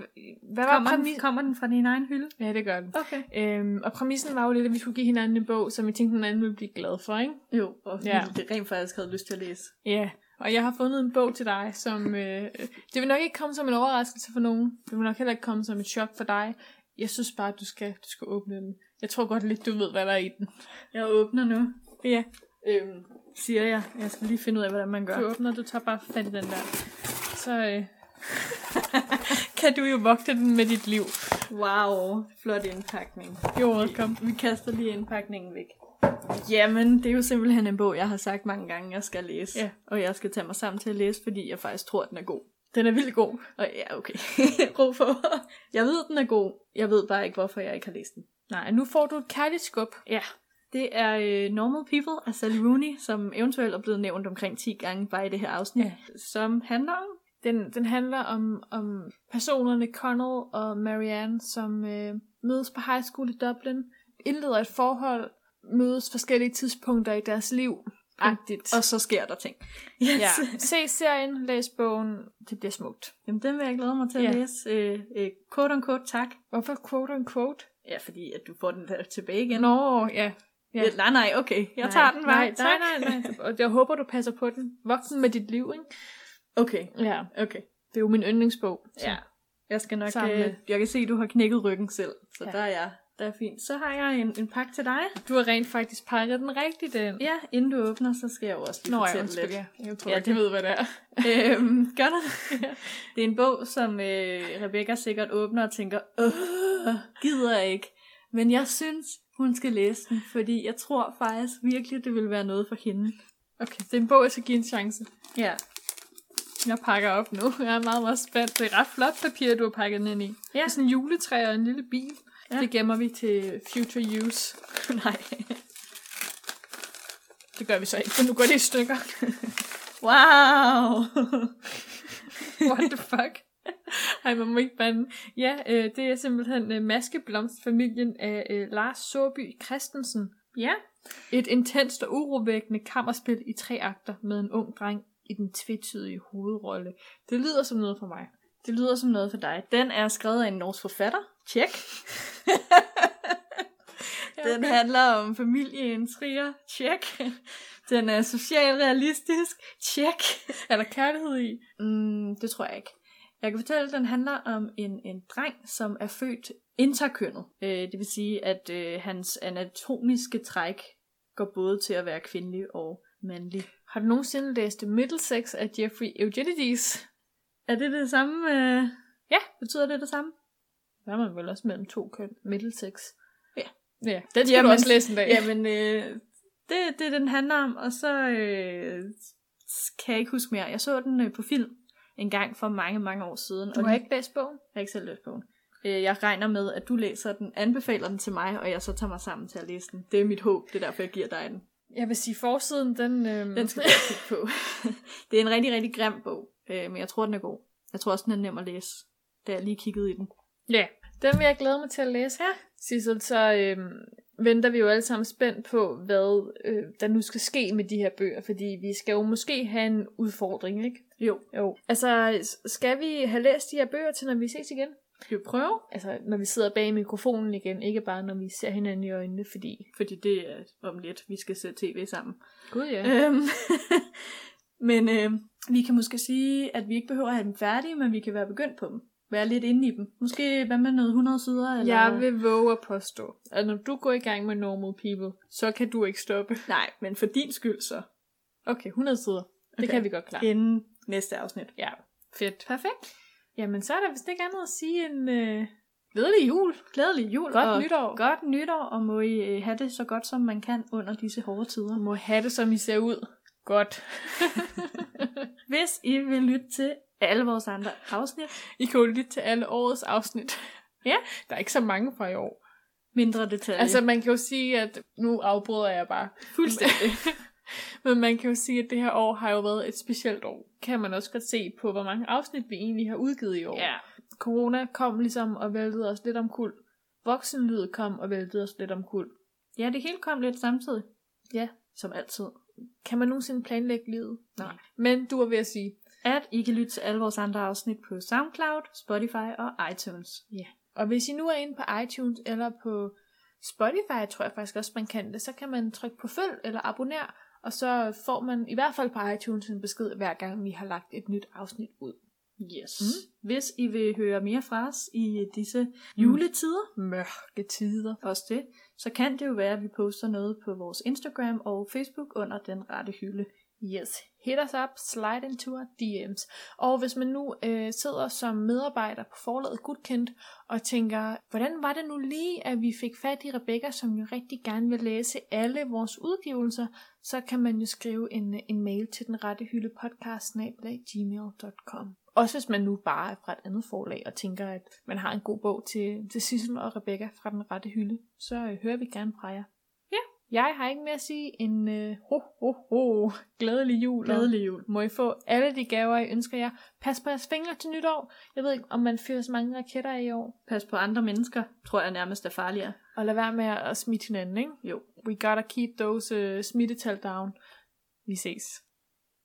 [SPEAKER 2] hvad var
[SPEAKER 1] Kommer, den,
[SPEAKER 2] præmis-
[SPEAKER 1] kommer den fra din egen hylde?
[SPEAKER 2] Ja, det gør den.
[SPEAKER 1] Okay.
[SPEAKER 2] Øhm, og præmissen var jo lidt, at vi skulle give hinanden en bog, som vi tænkte, den anden ville blive glad for, ikke?
[SPEAKER 1] Jo, og
[SPEAKER 2] Ja.
[SPEAKER 1] ja. det rent faktisk havde lyst til at læse.
[SPEAKER 2] Ja, og jeg har fundet en bog til dig, som... Øh, øh, det vil nok ikke komme som en overraskelse for nogen. Det vil nok heller ikke komme som et chok for dig. Jeg synes bare, at du skal, du skal åbne den. Jeg tror godt lidt, du ved, hvad der er i den.
[SPEAKER 1] Jeg åbner nu,
[SPEAKER 2] Ja,
[SPEAKER 1] øhm, siger jeg. Jeg skal lige finde ud af, hvordan man
[SPEAKER 2] du
[SPEAKER 1] gør.
[SPEAKER 2] åbner, du tager bare fat i den der. Så øh, kan du jo vogte den med dit liv.
[SPEAKER 1] Wow, flot indpakning.
[SPEAKER 2] Jo, welcome.
[SPEAKER 1] Vi kaster lige indpakningen væk. Jamen, det er jo simpelthen en bog, jeg har sagt mange gange, jeg skal læse.
[SPEAKER 2] Ja.
[SPEAKER 1] Og jeg skal tage mig sammen til at læse, fordi jeg faktisk tror, den er god.
[SPEAKER 2] Den er vildt god.
[SPEAKER 1] Og ja, okay. Ro på. Jeg ved, den er god. Jeg ved bare ikke, hvorfor jeg ikke har læst den.
[SPEAKER 2] Nej, nu får du et kærligt skub.
[SPEAKER 1] Ja. Det er øh, Normal People af Sally Rooney, som eventuelt er blevet nævnt omkring 10 gange bare i det her afsnit,
[SPEAKER 2] Ja.
[SPEAKER 1] ja. som handler om
[SPEAKER 2] Den, den handler om, om personerne Connell og Marianne, som øh, mødes på high school i Dublin, indleder et forhold, mødes forskellige tidspunkter i deres liv. Agtigt.
[SPEAKER 1] Og så sker der ting.
[SPEAKER 2] Yes. Ja. Se serien, læs bogen, det bliver smukt.
[SPEAKER 1] Jamen, den vil jeg glæde mig til at
[SPEAKER 2] Ja.
[SPEAKER 1] ja. læse. Øh, øh, quote on quote, tak.
[SPEAKER 2] Hvorfor quote on quote?
[SPEAKER 1] Ja, fordi at du får den der tilbage igen.
[SPEAKER 2] Nå, ja. ja.
[SPEAKER 1] Ja. Nej, nej, okay. Jeg nej, tager den,
[SPEAKER 2] nej,
[SPEAKER 1] bare.
[SPEAKER 2] nej, nej, nej, nej. Og jeg håber, du passer på den. Voksen med dit liv, ikke?
[SPEAKER 1] Okay,
[SPEAKER 2] Ja.
[SPEAKER 1] okay.
[SPEAKER 2] Det er jo min yndlingsbog. så-
[SPEAKER 1] Ja. Jeg skal nok...
[SPEAKER 2] Sammen med-
[SPEAKER 1] Øh, jeg kan se, at du har knækket ryggen selv. Så
[SPEAKER 2] Ja.
[SPEAKER 1] ja. der er jeg. Der er fint. Så har jeg en, en pakke til dig.
[SPEAKER 2] Du har rent faktisk pakket den rigtigt ind.
[SPEAKER 1] Ja, inden du åbner, så skal jeg jo også lige
[SPEAKER 2] Nå, jeg
[SPEAKER 1] fortælle
[SPEAKER 2] undskyld,
[SPEAKER 1] lidt.
[SPEAKER 2] ja. Jeg tror
[SPEAKER 1] Ja,
[SPEAKER 2] ja, ikke, jeg ved, hvad det er.
[SPEAKER 1] øhm, gør det? Det er en bog, som øh, Rebecca sikkert åbner og tænker, Åh, gider jeg ikke. Men jeg synes, hun skal læse den, fordi jeg tror faktisk virkelig, det vil være noget for hende.
[SPEAKER 2] Okay, det er en bog, jeg skal give en chance.
[SPEAKER 1] Ja.
[SPEAKER 2] Jeg pakker op nu. Jeg er meget, meget spændt. Det er ret flot papir, du har pakket den ind i. Ja. Det er sådan en juletræ og en lille bil. Ja.
[SPEAKER 1] Ja.
[SPEAKER 2] Det gemmer vi til future use.
[SPEAKER 1] Nej.
[SPEAKER 2] Det gør vi så ikke, for nu går det i stykker.
[SPEAKER 1] Wow!
[SPEAKER 2] What the fuck? Ej, man må ikke bande. Ja, øh, det er simpelthen øh, maskeblomstfamilien af øh, Lars Såby Christensen.
[SPEAKER 1] ja.
[SPEAKER 2] Et intenst og urovækkende kammerspil i tre akter med en ung dreng i den tvetydige hovedrolle. Det lyder som noget for mig.
[SPEAKER 1] Det lyder som noget for dig. Den er skrevet af en norsk forfatter. Tjek. Den handler om familieintriger. Tjek. Den er socialrealistisk. Tjek.
[SPEAKER 2] Er der kærlighed i?
[SPEAKER 1] Mm, det tror jeg ikke. Jeg kan fortælle, at den handler om en, en dreng, som er født interkønnet. Øh, det vil sige, at øh, hans anatomiske træk går både til at være kvindelig og mandlig.
[SPEAKER 2] Har du nogensinde læst Middlesex af Jeffrey Eugenides?
[SPEAKER 1] Er det det samme? Øh...
[SPEAKER 2] Ja.
[SPEAKER 1] Betyder det det samme?
[SPEAKER 2] Der er man vel også mellem to køn. Middlesex. Ja, den skal
[SPEAKER 1] Jamen-
[SPEAKER 2] du også læse en dag.
[SPEAKER 1] Jamen, øh, det er det, den handler om, og så øh, kan jeg ikke huske mere. Jeg så den øh, på film en gang for mange, mange år siden.
[SPEAKER 2] du
[SPEAKER 1] og
[SPEAKER 2] har ikke læst bogen?
[SPEAKER 1] Jeg har ikke selv læst bogen. Øh, Jeg regner med, at du læser den, anbefaler den til mig, og jeg så tager mig sammen til at læse den. Det er mit håb, det er derfor, jeg giver dig den.
[SPEAKER 2] Jeg vil sige, forsiden, den... Øhm,
[SPEAKER 1] Den skal du også kigge på. det er en rigtig, rigtig grim bog, øh, men jeg tror, den er god. Jeg tror også, den er nem at læse, da jeg lige kiggede i den.
[SPEAKER 2] Ja, den vil jeg glæde mig til at læse her. Sissel, så øhm, venter vi jo alle sammen spændt på, hvad øh, der nu skal ske med de her bøger, fordi vi skal jo måske have en udfordring, ikke?
[SPEAKER 1] Jo,
[SPEAKER 2] Jo. Altså, s- skal vi have læst de her bøger til, når vi ses igen?
[SPEAKER 1] skal vi prøve?
[SPEAKER 2] Altså, når vi sidder bag mikrofonen igen, ikke bare når vi ser hinanden i øjnene, fordi...
[SPEAKER 1] Fordi det er om lidt, vi skal se tv sammen.
[SPEAKER 2] Gud ja.
[SPEAKER 1] Øhm, men øh, vi kan måske sige, at vi ikke behøver at have dem færdige, men vi kan være begyndt på dem. Være lidt inde i dem. Måske hvad med noget 100 sider? Eller...
[SPEAKER 2] Jeg vil våge at påstå, at når du går i gang med Normal People, så kan du ikke stoppe.
[SPEAKER 1] Nej, men for din skyld så.
[SPEAKER 2] Okay, 100 sider. Det
[SPEAKER 1] Okay.
[SPEAKER 2] kan vi godt klare.
[SPEAKER 1] Inden næste afsnit.
[SPEAKER 2] Ja, fedt.
[SPEAKER 1] Perfekt.
[SPEAKER 2] Jamen, så er der vist ikke andet at sige end øh, glædelig jul.
[SPEAKER 1] Glædelig jul
[SPEAKER 2] Godt
[SPEAKER 1] og
[SPEAKER 2] nytår.
[SPEAKER 1] godt nytår, og må I øh, have det så godt, som man kan under disse hårde tider.
[SPEAKER 2] Og må have det, som I ser ud. Godt.
[SPEAKER 1] Hvis I vil lytte til alle vores andre afsnit,
[SPEAKER 2] I kan jo lytte til alle årets afsnit.
[SPEAKER 1] Ja.
[SPEAKER 2] Der er ikke så mange fra i år.
[SPEAKER 1] mindre detaljer.
[SPEAKER 2] Altså, man kan jo sige, at nu afbryder jeg bare.
[SPEAKER 1] fuldstændig.
[SPEAKER 2] Men man kan jo sige, at det her år har jo været et specielt år. Kan man også godt se på, hvor mange afsnit vi egentlig har udgivet i år.
[SPEAKER 1] ja.
[SPEAKER 2] Corona kom ligesom og væltede os lidt om kul. Voksenlivet kom og væltede os lidt om kul.
[SPEAKER 1] ja, det hele kom lidt samtidig.
[SPEAKER 2] Ja.
[SPEAKER 1] Som altid.
[SPEAKER 2] Kan man nogensinde planlægge livet?
[SPEAKER 1] Nej.
[SPEAKER 2] Men du var ved at sige,
[SPEAKER 1] at I kan lytte til alle vores andre afsnit på SoundCloud, Spotify og iTunes.
[SPEAKER 2] Og hvis I nu er inde på iTunes eller på Spotify, tror jeg faktisk også, man kan det, så kan man trykke på følg eller abonner, og så får man i hvert fald på iTunes en besked, hver gang vi har lagt et nyt afsnit ud.
[SPEAKER 1] Yes. Mm. Hvis I vil høre mere fra os i disse juletider,
[SPEAKER 2] Mm. Mørke tider.
[SPEAKER 1] også det, så kan det jo være, at vi poster noget på vores Instagram og Facebook under den rette hylde.
[SPEAKER 2] Yes, hit os up, slide into our DM's. Og hvis man nu øh, sidder som medarbejder på forlaget Gudkendt og tænker, hvordan var det nu lige, at vi fik fat i Rebecca, som jo rigtig gerne vil læse alle vores udgivelser, så kan man jo skrive en, øh, en mail til den rette hylde podcast gmail.com. Også hvis man nu bare er fra et andet forlag og tænker, at man har en god bog til, til Sissel og Rebecca fra den rette hylde, så øh, hører vi gerne fra jer. Jeg har ikke mere at sige end øh, ho, ho, ho, glædelig jul. og
[SPEAKER 1] Glædelig jul.
[SPEAKER 2] Må I få alle de gaver, I ønsker jer. Pas på jeres fingre til nytår. Jeg ved ikke, om man fyrer så mange raketter i år.
[SPEAKER 1] Pas på andre mennesker, tror jeg nærmest er farligere.
[SPEAKER 2] Og lad være med at smitte hinanden, ikke?
[SPEAKER 1] Jo.
[SPEAKER 2] We gotta keep those øh, smittetal down. Vi ses.